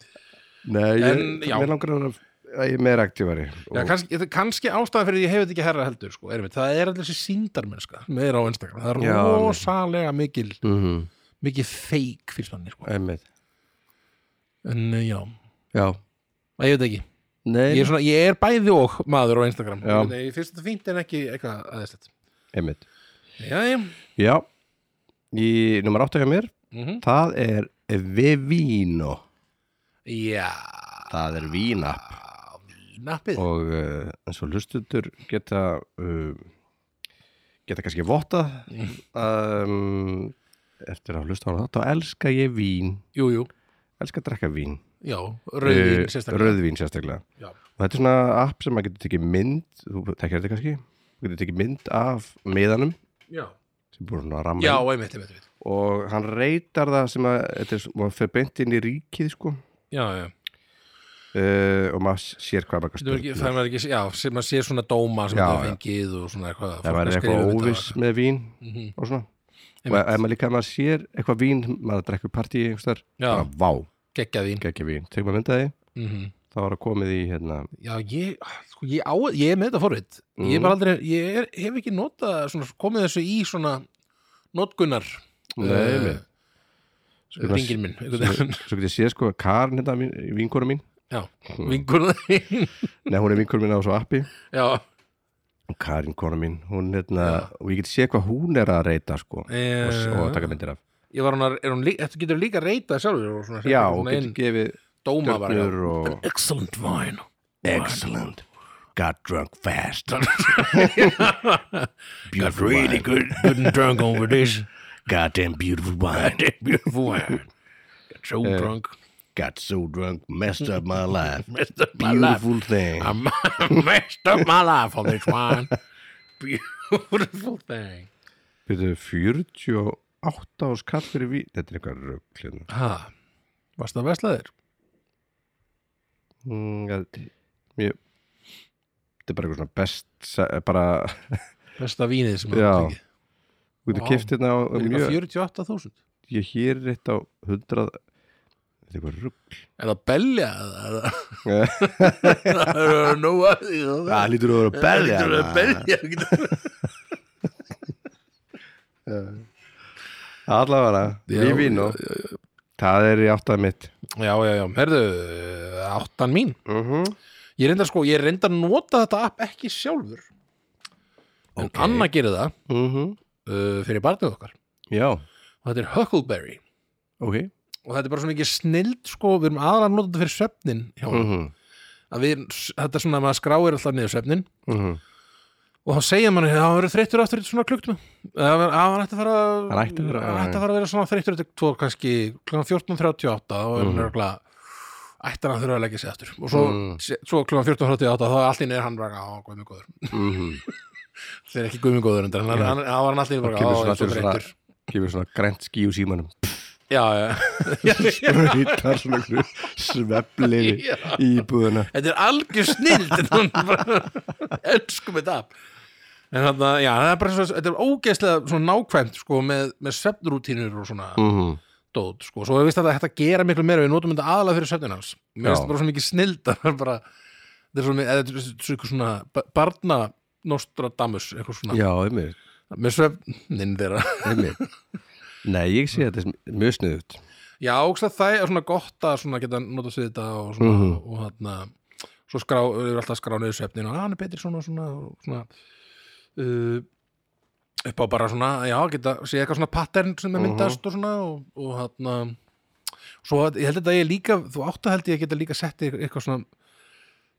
A: Nei, ég,
B: En, já.
A: mér langar að vera- að ég er meira aktífari
B: Já, kannski, þetta er kannski ástæðan fyrir því ég hef þetta ekki herra heldur sko, er mitt, það er allir þessi síndarmennska meira á Instagram, það er
A: Já,
B: rosalega mikil, Mhm.
A: mm -hmm.
B: mikil feik fyrir manni, sko,
A: Einmitt
B: en eh, já
A: Já,
B: Æ, ég veit ekki,
A: nei,
B: ég er, svona, ég er bæði og maður á Instagram,
A: Já.
B: Ég veit ekki, ég finnst þetta fínt en ekki eitthvað aðeinslegt
A: einmitt
B: Já, já,
A: Já, í nummer 8 hjá mér
B: mhm,
A: Það er Vivino
B: já
A: Það er vínapp
B: Nappið
A: Og uh, eins og hlustutur geta uh, Geta kannski votta um, Eftir að hlusta á það Þá elska ég vín
B: Jú, jú,
A: Elska að drekka vín
B: já, rauðin
A: Eh,
B: sérstaklega
A: Rauðvín sérstaklega
B: Já.
A: Og þetta er svona app sem maður getur tekið mynd Þú tekir þetta kannski Þú getur tekið mynd af meðanum
B: Já,
A: sem búið svona að ramma
B: já,
A: inn.
B: einmitt, einmitt, einmitt
A: og hann reytar það sem að þetta er svo- maður fyrir beint inn í ríkið sko
B: Já, já,
A: uh, og maður sér hvað maður
B: Þetta er ekki,
A: spurt
B: það er maður ekki, já, sem maður sér svona dóma sem
A: Já,
B: það
A: já.
B: fengið og svona eitthvað
A: það er eitthvað óviss með vín og
B: um
A: svona og
B: Mhm. Einmitt.
A: ef maður líka maður sér eitthvað vín maður drekkur partí einhverstaðar
B: Já,
A: bara vá,
B: geggjað vín
A: geggja vín tegum maður myndaði,
B: Mhm.
A: þá var það komið í hérna,
B: Já, ég, sko, ég á, ég er með þetta forrið Ég er
A: Mm.
B: bara aldrei, ég er, hef ekki notað svona, komið þessu í svona notgunnar
A: Nei, nei. Sko, það-
B: Ringin Eh, minn, einhvern veginn
A: svo getur ég séð sko Karin hérna, mín- vinkona mín
B: Já,
A: Mm.
B: vingur
A: nei, hún er vinkona mín á svo appi
B: Já,
A: Karin kona mín, hún hérna og ég getur séð hvað hún er að reyta sko og,
B: Já.
A: og taka myndir
B: eh,
A: af
B: ég var hún að, er hún líka, þetta getur líka að reyta sjálfur og svona,
A: já, og
B: svona
A: getur
B: einn
A: gefið
B: dóma bara já.
A: dögnur og
B: Excellent wine
A: excellent got drunk fast
B: Got really good, good and drunk over this
A: goddamn beautiful wine
B: beautiful wine Got so drunk
A: got so drunk, messed up my life
B: Messed up my life Ah.
A: beautiful thing
B: I'm messed up my life on this wine Beautiful thing
A: Byrðu 48 ás kall fyrir vín Þetta er eitthvað rögl hérna.
B: Ha, varst það veslaðir?
A: mm, ég- ég- Þetta er bara eitthvað svona best se- bara,
B: Besta vínið sem
A: Já.
B: það
A: þú getur
B: Vá.
A: kift hérna á
B: er
A: mjög,
B: líka 48.000
A: ég hér er eitt á 100 Þetta er eitthvað rögl
B: Er það belja? eða-
A: Ja.
B: Það er nú að því það
A: Það lítur að vera
B: Það er belja getur-
A: Allavega,
B: Já,
A: við vín og Það er í áttað mitt
B: Já, já, já, herðu, áttan mín
A: uh -huh.
B: Ég reynda sko, ég reynda að nota þetta app ekki sjálfur En
A: Ok.
B: Anna gerir það
A: mhm.
B: uh, fyrir barnið okkar
A: Já,
B: og þetta er Huckleberry
A: ok
B: og þetta er bara svona ekki snild sko, við erum aðra að nota þetta fyrir svefnin hjá
A: uh
B: honum. að við, þetta er svona að maður skráir alltaf niður svefnin
A: mhm,
B: og þá segja manni að það verður þreyttur aftur eftir svona klukkt að hann ætti að fara
A: Hann ætti að vera-
B: hann ætti að, fara að vera svona þreyttur eftir tvo kannski klukkan 14.38 og er hann
A: Mhm.
B: örgulega ætti hann að þurfa að leggja sig aftur og svo,
A: Mhm.
B: se- svo klukkan 14.38 þá allt í einu er hann bara á guðmið góður
A: mhm.
B: það er ekki guðmið góður undir hann,
A: Já.
B: hann, hann var hann allt í einu
A: Þá
B: bara á
A: kemur
B: ég
A: svona
B: er svo
A: til
B: þreyttur
A: Kemur svona grænt skí úr símanum
B: já, já, já,
A: Spröytar svona svefliði
B: já.
A: í íbúðuna
B: Þetta er algjör snild Elskum þetta app. En þarna, já, það er bara svo, þetta er ógeðslega svona nákvæmt sko, með, með svefnrútínur og svona
A: mm.
B: dót sko. Svo ég veist að þetta hægt að gera miklu meira við notum þetta aðalega fyrir svefnin hans Mér
A: Já.
B: finnst þetta bara svo mikið snild að það er bara, þetta er svo mikið, þetta er svo eitthvað svona ba- barna Nostradamus, eitthvað svona
A: Já, einmitt,
B: með svefnin þeirra
A: einmitt Nei, ég sé þetta sem mjög sniðut
B: Já, ógst að það er svona gott að svona geta notast við þetta og svona
A: Mhm.
B: og þarna, svo skrá, er alltaf skrá niður svefnin og "Ah, hann er betri svona, svona, og svona uh, upp á bara svona, já, geta, sé eitthvað svona pattern sem er
A: Mhm.
B: myndast og svona og, og þarna, svo að, ég held að þetta ég líka, þú átt að held ég að geta líka sett eit- eitthvað svona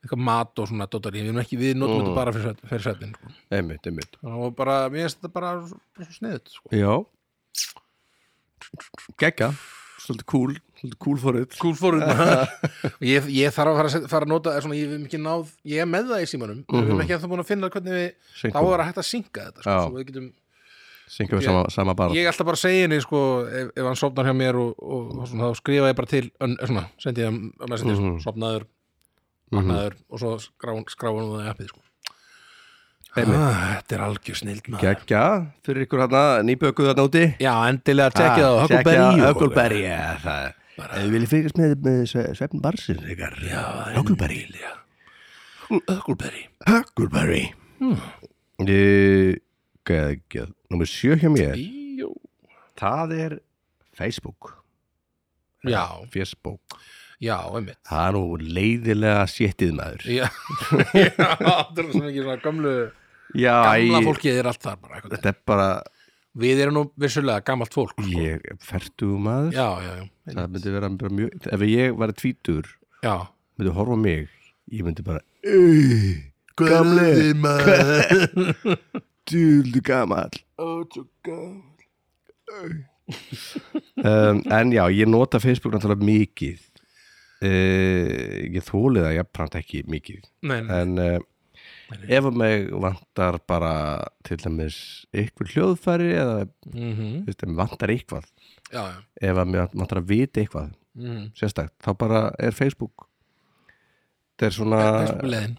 B: eitthvað mat og svona, dóttar, ég við erum ekki, við notum
A: Mhm.
B: þetta bara fyrir, svef- fyrir svefnin, sko.
A: Einmitt, einmitt
B: og bara, mér finnst þetta bara svo, svo sniðut, sko.
A: Já Gekka, svolítið cool Svolítið cool fóruð
B: cool for it ég, ég þarf að fara, að set- fara að nota eða svona, ég, hef ekki náð, ég er með það í símanum við erum
A: Mhm.
B: ekki að það búin að finna hvernig við þá er að hægt að synka þetta sko,
A: Já.
B: svo við getum,
A: Syngum við sama, sama bara
B: ég er alltaf bara að segja henni sko, ef, ef hann sopnar hjá mér og, og, og svona, þá skrifa ég bara til ön, svona, sendi ég hann að messenger mm
A: Mhm.
B: -hmm. sopnaður, annaður og svo skrá- skráa hann það í appið sko.
A: Einmitt.
B: ah, þetta er algjör snild maður
A: Gekka, fyrir ykkur hana, nýbökuð hana úti
B: já, endilega
A: Ah,
B: tjekkið á Huckleberry og-
A: Ökulberg, já, það Ef þið viljið fyrst með, með svefn barsin ykkar
B: Já, það er
A: Huckleberry.
B: nýlega. Huckleberry
A: Huckleberry hmm. Gekkja, nummer sjö hjá mér
B: Bíó.
A: Það er Facebook
B: já,
A: Facebook
B: já, einmitt
A: Það er nú leiðilega séttið maður
B: Já, Já, það er svo mikið svona gamlu
A: Já,
B: Gamla
A: ég,
B: fólkið er allt þar bara einhvern veginn.
A: þetta er bara
B: Við erum nú vissulega gamalt fólk sko.
A: ég fertugu maður
B: Já, já, já
A: það myndi vera bara mjög ef ég væri tvítur,
B: Já,
A: myndi horfa á mig ég myndi bara
B: Gamli
A: maður djúldu gamall um, en já, ég nota Facebook náttúrulega mikið uh, ég þóli það jafnframt ekki mikið
B: nei, nei,
A: en uh, ef að mig vantar bara til dæmis ykkur hljóðfæri eða
B: mm
A: þú veist, ef mig vantar eitthvað
B: já, já
A: ef að mig vantar að vita eitthvað
B: mm
A: sérstakt, þá bara er Facebook þetta er svona
B: -hmm. Leðin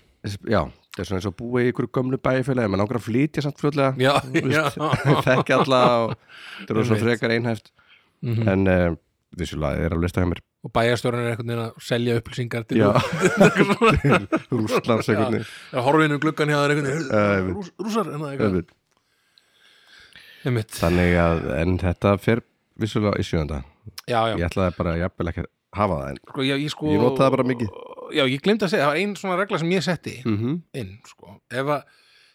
A: já, þetta er svona eins og búa í ykkur gömlu bæfélagi maður langar að flytja samt fljóðlega
B: Já, já
A: þekki alla og þetta er svona
B: Einmitt.
A: frekar einhæft
B: Mhm.
A: en uh, vissulega er að lista hjá mér
B: Og bæjarstjórinn er einhvern veginn að selja upplýsingar til
A: Já.
B: Svona-
A: Rússlands einhvern
B: Já, horfinn um gluggan hjá þér einhvern veginn
A: Já,
B: "Heyrðu,
A: einmitt.
B: Rúss- Rússar, en það er eitthvað
A: veginn
B: Einmitt.
A: þannig að, en þetta fer vissulega í sjöfunda
B: Já, já
A: ég ætlaði bara jafnvel ekki að hafa það en
B: Sko, já, ég, sko,
A: Ég nota það bara mikið.
B: Já, ég glemt að segja, það var ein svona regla sem ég setti
A: mm -hmm.
B: inn sko. ef, að,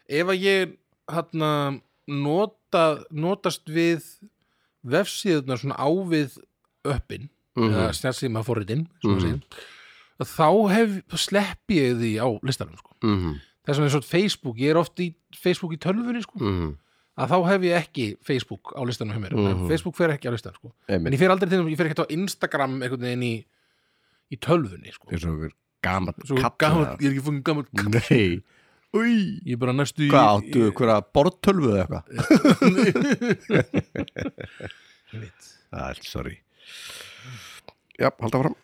B: ef að ég hana, nota, notast við vefsíðunar svona ávið öppin mm. eða snjálfsíma forritin mm.
A: Mhm.
B: þá hef, þá sleppi ég því á listanum sko.
A: Mhm.
B: þess vegna er svona Facebook, ég er oft í Facebook í tölfunni sko,
A: Mhm.
B: að þá hef ég ekki Facebook á listanum hjá mér,
A: Mhm.
B: Facebook fer ekki á listanum sko. en
A: Einmitt.
B: ég fer aldrei til ég fer ekki á Instagram einhvern veginn í, í tölfunni sko.
A: eins og einhver gamall
B: Svo
A: kall
B: gaman, ég er ekki fungið gaman kall
A: nei Új,
B: ég er bara næstu í-
A: hvað áttu, hverja borðtölvu eða eitthvað?
B: Ég veit.
A: Æ, sorry Já, halda fram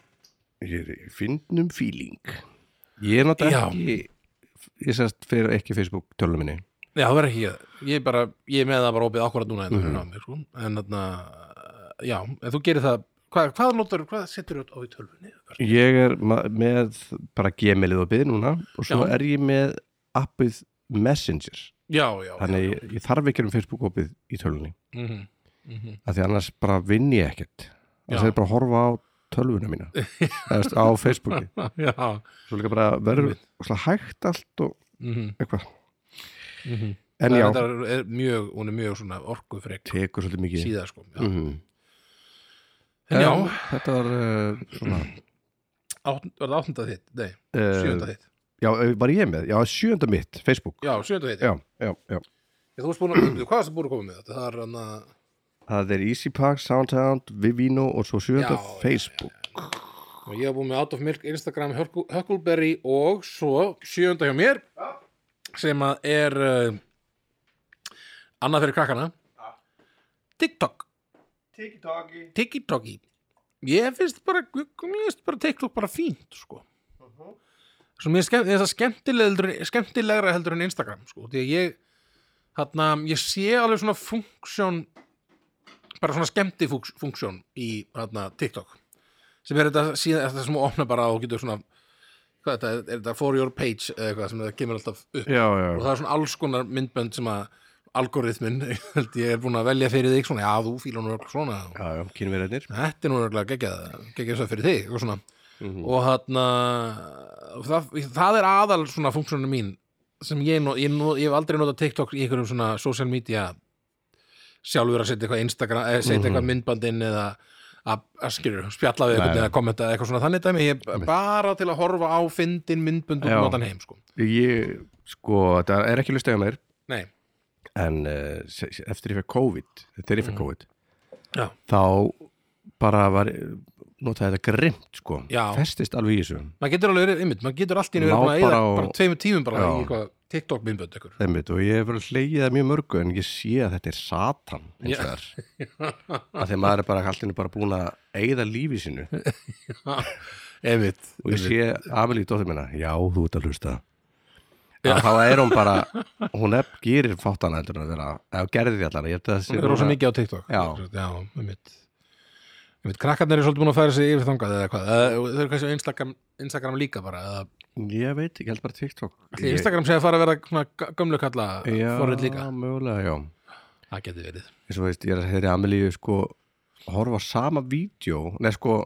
A: Ég er í finnum feeling Ég er
B: Já.
A: náttúrulega ekki Ég sérst fyrir ekki Facebook tölvu minni
B: Já, það verður ekki ég. Ég er bara, ég er með það bara opið akkurat núna mm
A: Mhm.
B: -hmm. mér, sko. en þarna já, en þú gerir það hvað, hvað notar, hvað setur þú á í tölvunni?
A: Ég er ma- með bara gmailið opið núna og svo
B: Já.
A: er ég með appið Messenger
B: Já, já,
A: Þannig
B: já, já.
A: ég, ég þarf ekki um Facebook opið í tölvunni
B: Mm -hmm. Mm -hmm.
A: af því annars bara vinn ég
B: Já.
A: ekkert annars er ég bara að horfa á tölvuna mína eða veist, á Facebooki
B: já.
A: svo líka bara verður svona hægt allt og
B: Mm -hmm.
A: eitthvað
B: Mm -hmm.
A: en já,
B: er, er mjög, hún er mjög svona orkufrek
A: tekur svolítið mikið
B: síða sko já.
A: Mhm.
B: en já,
A: En þetta var uh, svona
B: átt- var það áttunda þitt? Nei, sjönda
A: uh,
B: þitt
A: já, var ég með, já, sjönda mitt Facebook,
B: Já, sjönda þitt, já.
A: já, já, já
B: Ég, Þú varst búin að, hvað varst búin að koma með þetta? Það er hann að
A: það er Easy Park, Soundhound, Vivino og svo
B: Já,
A: sjönda
B: já,
A: Facebook
B: Og ég hef búin með Out of Milk, Instagram, Huckle- Huckleberry og svo sjöunda hjá mér sem að er uh, annað fyrir krakkana TikTok
A: Tiki-taki
B: TikToki ég finnst bara, ég finnst bara TikTok bara fínt sko svo mér skemmt, er það skemmtilegra, skemmtilegra heldur en Instagram sko því að ég þarna, ég sé alveg svona funksjón bara svona skemmti funksjón í þarna TikTok sem er þetta síðan, þetta sem opna bara og getur svona hvað þetta, er, er þetta for your page eða eitthvað sem það kemur alltaf upp
A: já,
B: og
A: já,
B: það er svona alls konar myndbönd sem að algoritmin, held ég er búin að velja fyrir þig svona, já þú fílar nú örugglega svona
A: já, já, kynverðinir
B: þetta er nú örugglega geggjað geggjað svo fyrir þig og svona
A: Mhm.
B: og þarna og það, það er aðal svona funksjónu mín sem ég, no, ég, no, ég hef aldrei notað TikTok í einhverjum svona social media sjálfur að setja eitthvað Instagram eða setja eitthvað myndbandinn eða að, að skilur, spjalla við
A: Mhm. Nei.
B: eitthvað eða kommenta eða eitthvað svona þannig dæmi, ég er bara til að horfa á fyndin myndbönd og
A: Já.
B: notan heim sko.
A: ég, sko, þetta er ekki lustið á mér
B: Nei,
A: en uh, se- se- eftir ég fekk COVID þegar ég fekk COVID
B: Mm. Já.
A: þá bara var notaði þetta grimt sko
B: Já.
A: festist alveg í þessu
B: maður getur alveg verið, einmitt, maður getur allt í henni verið
A: Lá
B: búin að eða
A: bara á-
B: bara tveimur tímum bara
A: Já.
B: í eitthvað TikTok myndbönd ykkur
A: Einmitt, og ég hef verið hleyið það mjög mörgu en ég sé að þetta er satan
B: Já.
A: hins vegar að þegar maður er bara allinu bara búin að eigða lífi sínu og
B: einmitt,
A: ég
B: einmitt.
A: sé Amelie dóttir minna já, þú ert að hlusta
B: Já.
A: að þá er hún bara hún er, gerir fáttana heldur en að vera eða gerði því allar ég held að það sé
B: Hún er rosa
A: núna-
B: mikið á TikTok
A: Já.
B: já einmitt einmitt, krakkarnir er svolítið búin að færa sig yfir þangað eða hvað, eða þau eru kannski á Instagram, Instagram líka bara, eða
A: ég veit ekki, ég held bara TikTok
B: Ég... Instagram sé að fara að vera svona g- gömlu kalla forrið líka,
A: já, mögulega, já
B: það geti verið
A: eins og veist, ég er að heyri Amelíu sko horfa á sama vídeo neð sko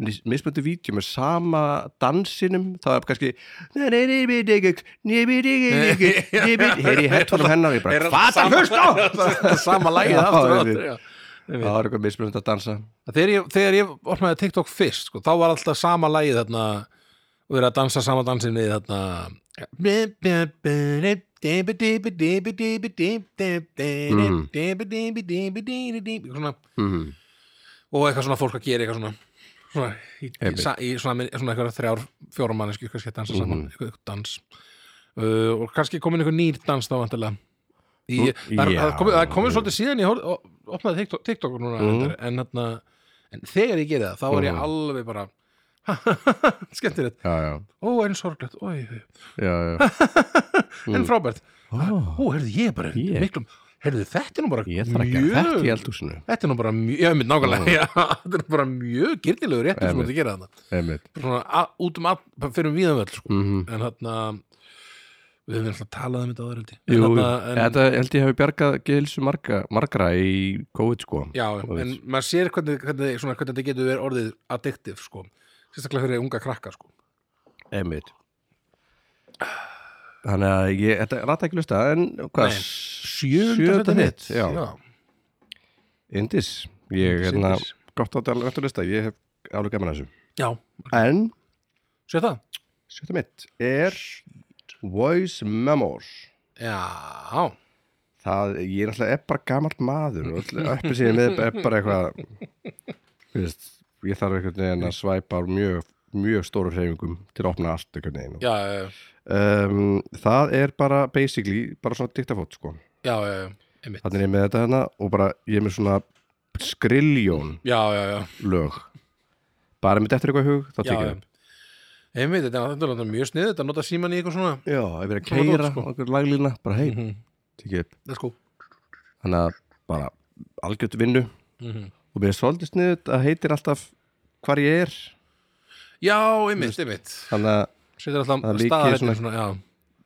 A: mis- mismunandi vídeo með sama dansinum þá er kannski heyri í hættunum hennar ég bara, hvað það hlust á
B: sama lagið
A: Já,
B: aftur og
A: einmitt.
B: aftur, já.
A: það er eitthvað mismunandi að dansa
B: þegar ég, þegar ég opnaði TikTok fyrst sko, þá var alltaf sama lagið þarna og verið að dansa sama dansin við þarna svona, Mhm.
A: mm.
B: og eitthvað svona fólk að gera eitthvað svona svona, í, í,
A: Einmitt.
B: sa, í svona, minn- svona eitthvað þrjár fjórum manneski kannski að dansa saman,
A: Mhm.
B: eitthvað dans uh, og kannski komin eitthvað nýr dans þá vantilega Í,
A: Þú-
B: það,
A: já.
B: það komið komi svolítið síðan ég horf, opnaði TikTok, TikTok núna
A: Mhm.
B: mm. en, þarna, en þegar ég gerði það þá er ég
A: Mhm.
B: alveg bara skemmtilegt,
A: já, já,
B: ó en sorglegt ó,
A: já, já.
B: en frábært
A: Ó,
B: ó, heyrðu ég er bara
A: Mhm. Ég-
B: miklum, heyrðu þetta er nú bara
A: ég þarf að gera þetta í
B: mjög
A: eldhúsinu
B: þetta er nú bara mjög, já, mitt nákvæmlega já, þetta er bara mjög girtilegur réttur sem þú
A: Einmitt.
B: ert að gera þarna
A: einmitt
B: svona a- út um all, bara fyrir um víðan völl sko.
A: Mhm.
B: en þarna við höfum alltaf talað um þetta áður held ég. En
A: Jú, jú.
B: þarna- en,
A: þetta held ég hefur bjargað gilsu marga, margra í COVID sko
B: já,
A: þú
B: en
A: veist.
B: maður sér hvernig, hvernig, svona, hvernig þetta getur verið orðið addictive sko. sérstaklega fyrir unga krakka sko.
A: Einmitt Þannig að ég, þetta rata ekki lusta en hvað,
B: Nei.
A: s-
B: Sjöunda
A: sjöunda
B: sætið
A: mitt
B: mitt,
A: já.
B: já.
A: Indis, ég
B: Indís,
A: hérna
B: Indís.
A: gott að tala eftir lista, ég hef alveg gaman að þessu
B: Já,
A: en,
B: sér það
A: sjötta mitt er Voice Memos
B: Já,
A: það, ég er alltaf er bara gamalt maður og uppi síðan með er bara eitthvað þú veist, ég þarf einhvern veginn að svæpa á mjög, mjög stóru hreyfingum til að opna allt einhvern veginn
B: já, já,
A: um, það er bara basically, bara svona diktafót sko.
B: já, já, einmitt
A: þannig er ég með þetta hérna og bara ég er með svona skriljón
B: Já, já, já,
A: lög bara mitt eftir eitthvað í hug, þá
B: já,
A: tekið
B: já.
A: það
B: Einmitt, þetta er náttúrulega mjög snið Þetta nota síman í eitthvað svona
A: já, ef ég er að
B: Svona dót,
A: keira
B: sko. Mhm.
A: okkur laglína, bara hei, tekið upp
B: Let's go
A: þannig að bara algjört vinnu
B: Mhm.
A: og mér er svolítið sniðut að heitir alltaf hvar ég er
B: Já, einmitt, einmitt
A: þannig að
B: Sveitir alltaf
A: Það er líkið
B: staðar
A: svona-
B: svona, svona, já.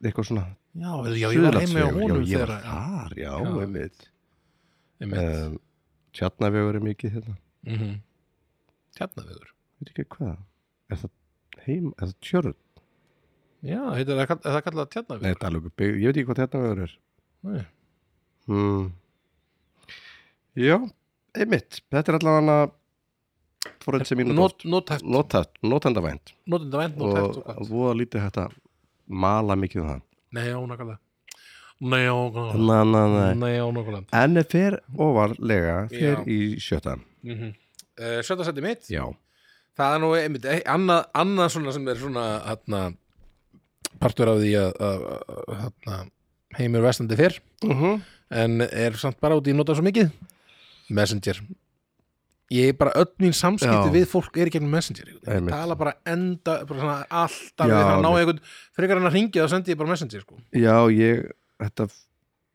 A: eitthvað svona
B: já, já, ég var heimi á
A: Suðurlandsvegur,
B: honum
A: já, ég var
B: þegar
A: þar, já,
B: Já.
A: einmitt
B: Einmitt,
A: um, tjarnavegur er mikið hérna,
B: mhm Hérna viður
A: veit ekki hvað er það heim, er það tjörn
B: Já, heitir það, kall- er það kallað tjarna
A: Nei, þetta er alveg byggð, ég veit ekki hvað tjarnavegur er
B: Nei.
A: hmm. já, einmitt þetta er allavega fóröld sem mínu
B: Not- Nothæft,
A: notat, notandavænt
B: notenda vænt, nothæft og
A: og
B: hvað
A: voða lítið hægt að mala mikið um það
B: Nei, já, nákvæmlega Nei, já, nákvæmlega
A: na, na, na.
B: Nei, já, nákvæmlega
A: en ef fer ofarlega fer
B: Já.
A: í sjötta
B: Mhm. Eh, Sjötta seti mitt
A: já,
B: Það er nú einmitt eh, annað, annað svona sem er svona hana, partur af því að, að, að hana, heimur vestandi fyrr
A: uh -huh.
B: en er samt bara út í nota svo mikið Messenger Ég er bara öll mín samskipti
A: Já.
B: við fólk er í gegnum Messenger einhvern veginn.
A: Einmitt.
B: Ég tala bara enda, bara svona alltaf
A: Já,
B: við það að ná
A: einmitt.
B: einhvern frekar en að hringja þá sendi ég bara Messenger sko.
A: já, ég þetta,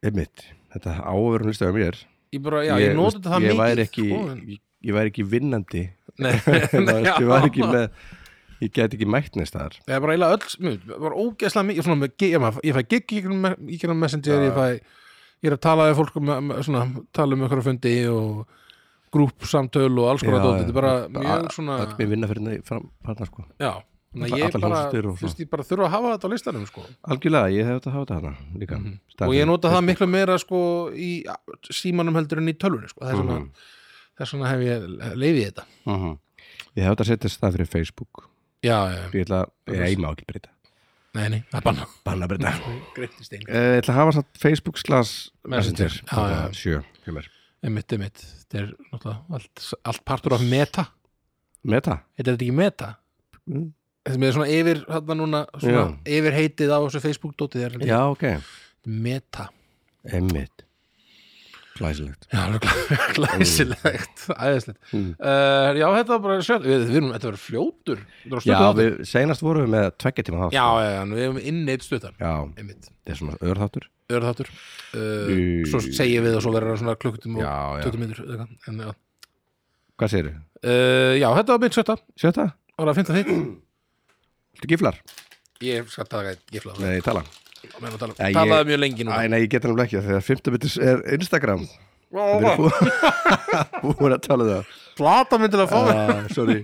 A: einmitt þetta áverun listaði mér
B: Ég bara, já, ég, ég nota þetta það
A: ég
B: mikið
A: væri ekki,
B: sko, en-
A: ég, ég væri ekki vinnandi
B: Nei, nei,
A: ég
B: já.
A: væri ekki með ég get ekki mætt neist þar
B: Það er bara eiginlega öll, mjög, bara ógeðslega mikið, svona, með, ég, maður- ég fæ gig í gegnum me- í gegnum messenger, ég fæ, ég er að tala við fólk um, um- svona, tala um ykkur á fundi og grúp samtöl og alls konar
A: Já,
B: dót,
A: já.
B: þetta er bara
A: Bara
B: mjög
A: a-
B: svona,
A: öll mér vinna fyrir það fram, farna sko
B: já, þannig
A: Alla-
B: að ég
A: allar
B: bara,
A: hljómsveitir og
B: þú veist, ég bara þurfa að hafa þetta á listanum, sko,
A: algjörlega, ég hef þetta hafa þetta hana líka
B: Mhm. og ég
A: Staðfest.
B: nota það miklu meira, sko, í símanum heldur en í tölvunni, sko, þess vegna,
A: Mhm.
B: þess vegna hef ég leifið þetta,
A: Mhm. ég hef þetta setjast það fyrir Facebook
B: já, já,
A: ég ætla, ég má ekki breyta
B: nei, nei, það er banna,
A: banna breyta Eh,
B: greittist einhver.
A: ég ætla að hafa satt Facebook slash
B: Messenger. Ah,
A: Messenger
B: Já, já, já.
A: sjö hjá mér.
B: Einmitt, einmitt, þetta er náttúrulega allt, allt partur af meta.
A: meta
B: Heitir þetta ekki meta?
A: Mm.
B: Þetta er svona yfir, hérna núna, svona yfir heitið á þessu Facebook-dótið er
A: já, ok,
B: meta.
A: emmitt glæsilegt
B: Já, alveg glæ- glæsilegt, æðislegt.
A: Mm.
B: Uh, já, þetta var bara sjálf, við, við erum, þetta var fljótur. Þetta var
A: já,
B: stuttur þáttur.
A: við, senast vorum við með tveggja tíma þátt
B: já, já, já, við erum inn eitt stuttan,
A: já,
B: einmitt,
A: þetta er svona örþáttur
B: öðru þáttur. Uh,
A: Í-
B: svo segjum við og svo verður það svona klukkutum og
A: já, já,
B: 20 minnur, eða eitthvað, en já.
A: hvað segirðu?
B: Uh, já, þetta var mitt sjötta,
A: Sjötta?
B: var það 15 þitt?
A: Þú giflar?
B: Ég skal taka eitt gifla, það
A: Nei, tala
B: meðan að tala,
A: Nei, ég-
B: talaði mjög lengi núna.
A: Æ, nei, ég geta nefnilega ekki þegar 50 mitis er Instagram
B: Ó,
A: Við
B: vá,
A: erum bú- búin að tala um það
B: plata myndi að fá mig.
A: uh, Sorry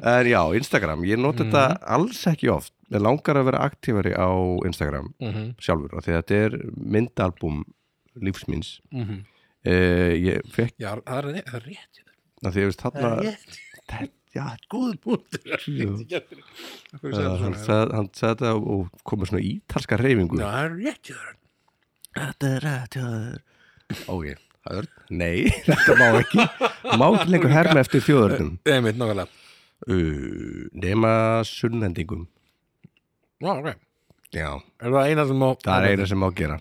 A: En já, Instagram, ég nota
B: Mhm.
A: þetta alls ekki oft Mér langar að vera aktífari á Instagram
B: Mhm,
A: sjálfur af Því að þetta er myndalbum lífsmins
B: mhm.
A: uh, Ég fekk,
B: Já, það er rétt, það er rétt.
A: af því að ég veist
B: Það er
A: þarna
B: rétt.
A: Þetta- Já,
B: Góð búndur.
A: Jú. uh, hann
B: Það
A: sagði hann sagði þetta og komið svona ítalska reyfingu
B: er rétt. hjá þér.
A: Þetta er rætt hjá þér Ok, hörn, nei, þetta má ekki Má ekki lengur herma eftir þjóðurnum
B: Einmitt, nákvæmlega.
A: uh, Nema sunnendingum
B: Já, ok.
A: Já,
B: Er það eina sem má...
A: það er eina sem má gera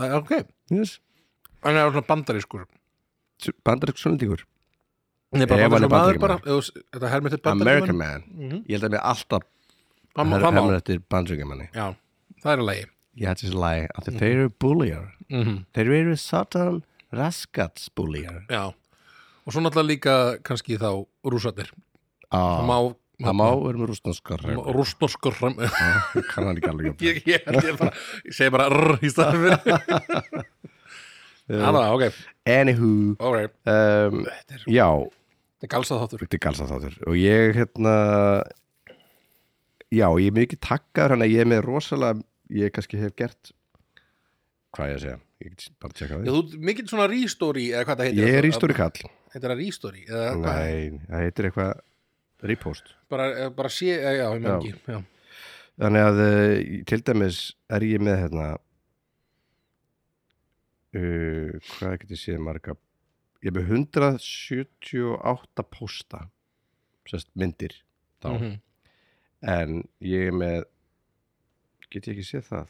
B: Það- Ok.
A: yes.
B: En það er svona bandarískur.
A: Bandarík sunnendingur
B: Nei,
A: Ef
B: bara
A: hann
B: bandarískur
A: er
B: maður
A: Bandaríkjamaður.
B: bara. ef þú- Þetta er hermið til bandarískur.
A: American man
B: Mhm.
A: Ég held að mér alltaf
B: Það má-
A: her-
B: það má.
A: herma eftir bandaríkjumanni
B: Já, það er að lægi.
A: Ég hætti þessi lagi af því þeir eru búljar Þeir eru satan raskatsbúljar
B: Já. Og svo náttúrulega líka kannski þá rúsarnir. Það má...
A: Það má vera með rústnarskar
B: Rústnorskur
A: Ég kann hann ekki alveg jafn.
B: Ég, ég, held ég, bara, ég segi bara rr í staðan fyrir Það var, ok,
A: Anywho
B: ok
A: um,
B: Þetta er,
A: Já,
B: þetta er galsað þáttur
A: Þetta er galsa þáttur og ég hérna hérna. já, ég er mikið takkaður hann að ég er með rosalega, ég kannski hef gert hvað ég að segja ég get bara að tjekka
B: Já,
A: það
B: þú, mikill svona rístóri, eða hvað það heitir
A: ég er í
B: að-
A: stóri kall
B: Heitir það rístóri, eða hvað,
A: nei, það heitir eitthvað repost
B: bara, eða bara sé, eða, já, ég
A: Já.
B: með ekki, já,
A: þannig að eh, til dæmis er ég með hérna uh, hvað get ég séð marga ég er með 178 posta sérst myndir þá
B: Mhm.
A: en ég er með get ég ekki séð það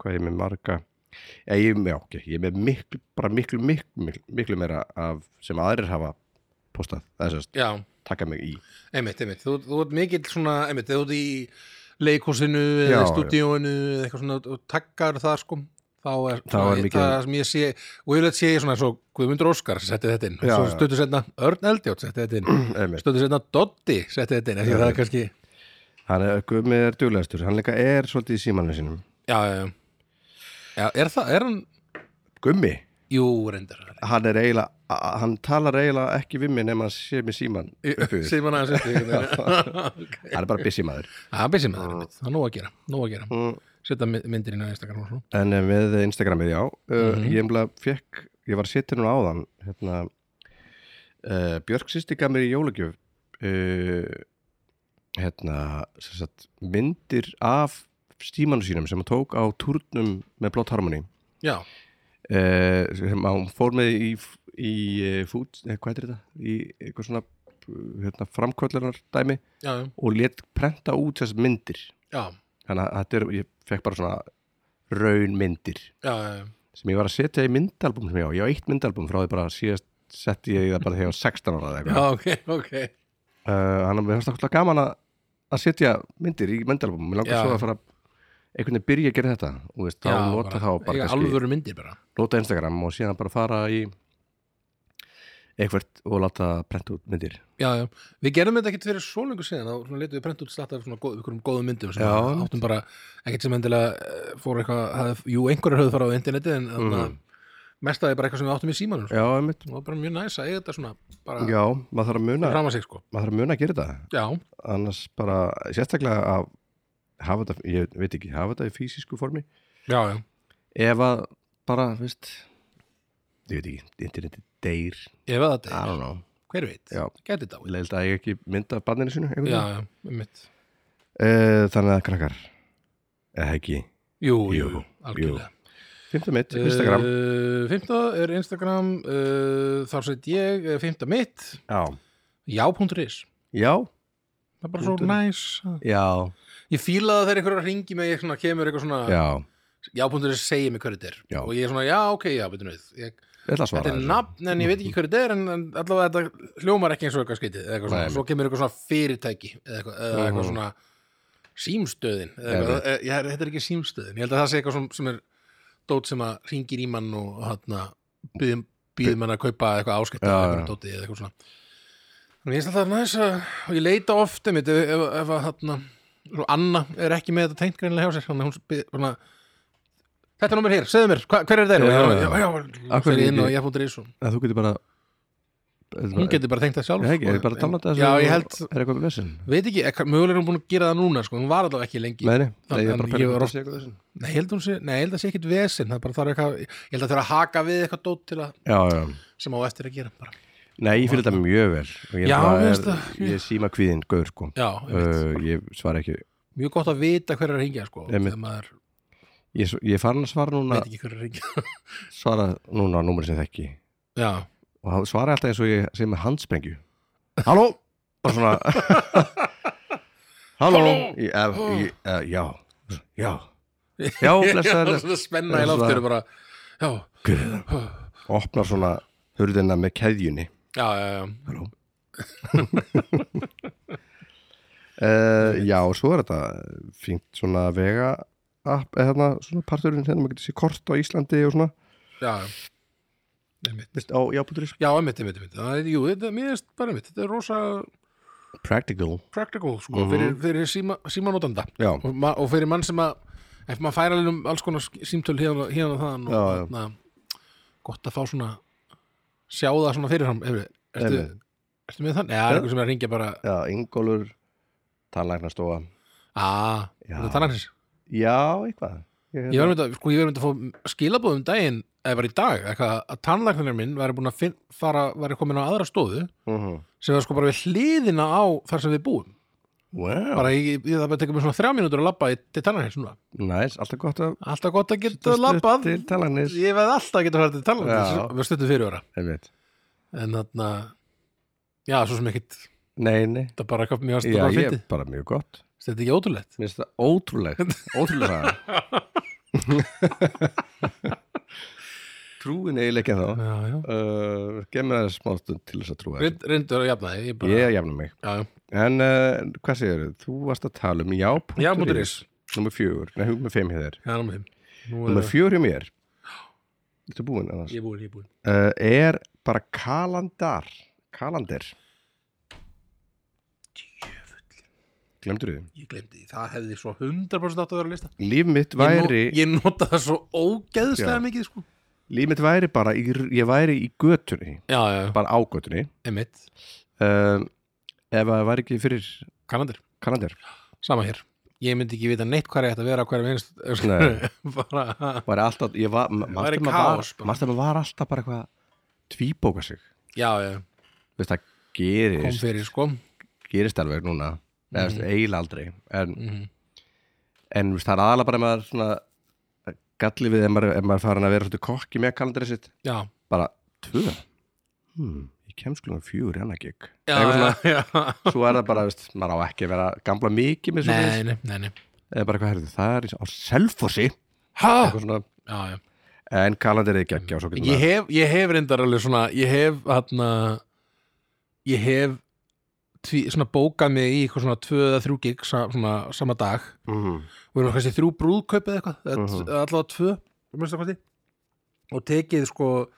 A: hvað ég er með marga ég, ég, já, ok, ég er með miklu bara miklu, miklu, miklu, miklu meira af sem aðrir hafa postað það er sérst,
B: já,
A: taka mig í
B: einmitt, einmitt, þú, þú ert mikill svona, einmitt, þegar þú ert í leikhúsinu
A: Já,
B: eða
A: já.
B: stúdíóinu eða eitthvað svona og takkar það sko þá er,
A: Þá er mikið-
B: það sem ég sé og yfirleitt sé ég svona svo Guðmundur Óskar setti þetta inn,
A: Já,
B: svo
A: já.
B: stötu setna Örn Eldjátt setti þetta inn,
A: Einmitt.
B: stötu setna Doddi setti þetta inn, af því
A: Já,
B: að það
A: já.
B: er kannski
A: hann er, Guðmi er duglegastur, hann líka er svolítið í símanum sínum
B: já, já, já, já, er það, er hann
A: Gummi,
B: jú, reyndar,
A: hann er eiginlega a- hann talar eiginlega ekki við mig nema hann sé með síman uppi við.
B: Simon aðeins eftir einhvern veginn. Ok.
A: hann er bara busy maður
B: Það er busy með það, það er nóg að gera, nóg að gera.
A: Mm.
B: Setta myndir inn á Instagram og svona.
A: en eh, með Instagramið, já uh, ég emla fekk, ég var sittir núna áðan hérna uh, Björk sýsti gaf mér í jólagjöf uh, hérna sem sagt, myndir af stímanu sínum sem hann tók á turnum með Blott Harmony
B: Já,
A: Eh, sem hún fór með í, í eh, food, eh, hvað er þetta í eitthvað svona eh, hérna, framkvöllunar dæmi
B: já, já,
A: og let prenta út þess myndir
B: já,
A: þannig að þetta er, ég fekk bara svona raun myndir
B: já, já, já.
A: sem ég var að setja í myndalbum sem ég á, ég á eitt myndalbum frá því bara síðast setti ég það bara þegar ég var 16 ára eða
B: já,
A: eitthvað
B: ok, ok.
A: Eh, þannig að mér fannst alltaf gaman að, að setja myndir í myndalbum, mér langar
B: Já.
A: svo að fara einhvern veginn byrja að gera þetta og þú veist, þá
B: Já,
A: nota þá bara
B: eiga
A: kannski-
B: Alvöru myndir bara.
A: nota Instagram og síðan bara fara í eitthvert og láta prenta út myndir
B: Já, já, við gerðum þetta ekkert fyrir svo lengur síðan þá svona letum við prent út slatt af svona góð, ykkurum góðum myndum sem
A: Já,
B: við
A: einmitt.
B: áttum bara ekkert sem endilega eh, fór eitthvað, hafði, jú, einhverjar höfðu farað á interneti en mm. mest að það er bara eitthvað sem við áttum í símanum sko.
A: Mhm. Já, einmitt
B: og bara mjög næs að eiga þetta svona bara
A: Já, maður þarf að muna,
B: fram að sig sko.
A: maður þarf að muna að gera þetta
B: Já,
A: annars bara, sérstaklega að hafa þetta, ég veit ekki, hafa þetta í fysisku formi
B: já, já,
A: ef að bara, veist ég veit ekki, interneti deyr
B: ég veða þetta
A: I
B: er,
A: don't know,
B: hver veit,
A: Já.
B: gæti þetta á
A: ég held að ég ekki mynda af barninu sinu, einhvern
B: Já, já,
A: veginn
B: mitt
A: Eh, Þannig að krakkar eða ekki,
B: Jú, jú,
A: Jú,
B: jú, algjörlega.
A: fymta mitt, Instagram
B: Uh, fymta er Instagram, uh, þar set ég, eh, fymta mitt,
A: Já,
B: já.is.
A: já,
B: Það er bara svo
A: Punktur.
B: næs.
A: já,
B: Ég fíla það þegar einhverjar ringi mig, ég svona, kemur eitthvað svona,
A: já
B: já.is segir mig hverju þetta er.
A: Já.
B: Og ég er svona, já, ok, já, betur við. Ég,
A: Ég ætla að svara
B: þetta er
A: þessu.
B: nafn, en ég veit ekki hverju þetta er, en, en allavega þetta hljómar ekki eins og eitthvað skytið. Eða eitthvað
A: Nei,
B: svona, svo kemur eitthvað svona fyrirtæki, eða eitthvað, eða
A: Mhm.
B: eitthvað svona símstöðin. Eða eitthvað, eða, ég, þetta er ekki símstöðin. Ég held að það sé eitthvað sem, sem er dót sem að ringir í mann og hérna hátna, býðum, býðum hann að kaupa eitthvað áskipta
A: Já,
B: eða
A: já.
B: eitthvað dóti eða eitthvað svona. Þannig ég held að það er næs að, og ég leita oft einmitt ef, ef, ef að hátna, svo Anna er ekki með þetta tengt greinilega hjá sér, þannig að hún spyr, svona, þetta er númer hér, segðu mér, hva, hver er þetta?
A: Já,
B: Já, já,
A: já, já.
B: já, já,
A: Af hverju
B: fyrir inn
A: ekki?
B: og ég fóttir í svo.
A: að þú getur bara
B: Hún getur bara tengt það sjálf.
A: Ég hef ekki,
B: sko.
A: ég bara tala um þetta
B: Já, ég held,
A: Er eitthvað við vesinn?
B: veit ekki, ekk- mögulega er hún búin að gera það núna, sko, hún var allavega ekki lengi.
A: Nei, nei, nei, ég
B: en
A: er bara að
B: ég var
A: pæla
B: oft-
A: hvort það sé eitthvað vesinn
B: Nei, ég held hún sé, nei, ég held að sé ekkit vesinn, það er bara þarf eitthvað, ég held að þurfa að haka við eitthvað dót til að,
A: Já, já
B: sem á eftir að gera, bara.
A: Nei, ég fyrir þetta mjög vel Og ég
B: Já,
A: bara
B: mér
A: er-
B: finnst það-
A: Ég er síma kvíðin, gaur sko
B: Já, uh,
A: Uh, Ég svara ekki
B: mjög gott að vita hver er að ringja, sko,
A: Einmitt.
B: þegar maður
A: Ég s- ég er farin að svara núna
B: veit ekki hver er að ringja.
A: Svara núna á númer sem þekki
B: Já,
A: Og þá svara ég alltaf eins og ég sé með handsprengju Halló Bara svona Halló
B: Halló?
A: Ég- ef- ég- eh, Já Já Já, blessaður
B: svona spenna í
A: Blessaður.
B: loftur bara, já,
A: Hver er það? Opnar svona hurðina með keðjunni
B: já, já, já,
A: Halló uh, Já, svo er þetta fínt svona vega app, eða þarna svona parturinn hérna, maður getur sér kort á Íslandi og svona
B: já, já, einmitt.
A: Vist, á, já, bútur
B: Já, einmitt, einmitt, einmitt. Það er, jú, þetta er mjög bara einmitt. Þetta er rosa
A: Practical
B: practical, sko,
A: Mhm.
B: fyrir, fyrir síma, símanótanda.
A: Já,
B: Og, ma- og fyrir mann sem að, ef maður færa alveg um alls konar sk- símtöl hérna, hérna og þaðan og
A: Já, já.
B: þarna, gott að fá svona, sjá það svona fyrirfram. Efri, ertu,
A: Einmitt.
B: ertu með þann? Já, það er einhver sem er að ringja bara,
A: já, Ingólfur Tannlæknastofa
B: að,
A: Já.
B: "Ah, þetta er tannarins.
A: Já, eitthvað Ég, hérna-
B: Ég var myndi að, sko, ég var myndi að fá skilabóð um daginn, eða bara í dag, eitthvað að tannlæknir minn væri búin að finn, fara, væri komin á aðra stóðu
A: Mhm.
B: sem var sko bara við hliðina á þar sem við búum.
A: Wow,
B: Bara ég, ég það bara tekur mér svona þrjá mínútur að labba í- til tannlæknir svona.
A: næs, alltaf gott að
B: Alltaf gott að
A: Stutt
B: geta labbað.
A: til talanis
B: Ég veð alltaf að geta farið til
A: Já.
B: tannlæknir, við stuttum fyrir ára.
A: Einmitt.
B: En þarna, já, svo sem ekkit,
A: Nei, nei,
B: það bara eitthvað mjög
A: já,
B: aðstofað
A: ég
B: fyndið.
A: er bara mjög gott
B: Þetta er ekki ótrúlegt.
A: Mér finnst það ótrúlegt, ótrúlega það Trúin eiginlega ekki þá
B: Já, já.
A: uh, Gef mér það smástund til þess að trúa þessu.
B: Reynd- Reyndu að jafna þig, ég bara,
A: Ég jafna mig
B: já, já.
A: En uh, hvað segirðu, þú varst að tala um já.is
B: Já, mútur ís.
A: Númer fjögur, nei, númer fimm hér
B: Já, námið þeim. Nú er
A: Númer fjögur hjá mér Þetta er búin annars
B: Ég er búin, ég er búin.
A: uh, Er bara kalandar Kalandir Glemdur þið?
B: Ég glemdi því, það hefði svo 100% átt að vera að lista
A: Líf mitt
B: Ég
A: væri
B: nó- Ég nota það svo ógeðslega
A: Já.
B: mikið sko
A: Líf mitt væri bara, í, ég væri í götunni
B: Já, já, já,
A: Bara á götunni
B: emitt
A: um, Ef það væri ekki fyrir
B: Kanandir,
A: kalandir
B: sama hér Ég myndi ekki vita neitt hvað er þetta að vera hverja minnst
A: Nei.
B: Bara,
A: Var alltaf, ég var
B: væri
A: Mannstæmi var,
B: kaos bara.
A: maður var alltaf bara eitthvað að Tvíbóka sig
B: já, já,
A: Veist, Það
B: kom
A: gerist,
B: fyrir Mhm. sko
A: gerist alveg núna Eða mm. eiginlega aldrei En,
B: Mhm.
A: en veist, það er aðalega bara ef maður svona Galli við ef maður, ef maður farin að vera svolítið kokki með kalandrið sitt
B: Já,
A: Bara tvö hmm, Ég kemst klunum fjögur í annað gig
B: já,
A: Eitthvað svona-
B: já, já.
A: Svo er það bara, veist, maður á ekki að vera gamla mikið með svo
B: Nei, nei, nei, nei
A: eða bara hvað herðu, það er í- á selfossi
B: Ha,
A: eitthvað svona,
B: já, já
A: en kalandir er ekki ekki á svo getur
B: Ég hef, ég hef reyndar alveg svona Ég hef, hérna Ég hef tví, svona bókað mig í eitthvað svona tvö eða þrjú gig sa- svona sama dag
A: mm,
B: og erum kannski þrjú brúðkaup eða eitthvað eða
A: Mhm.
B: -huh. allavega tvö að minnsta kosti. og tekið sko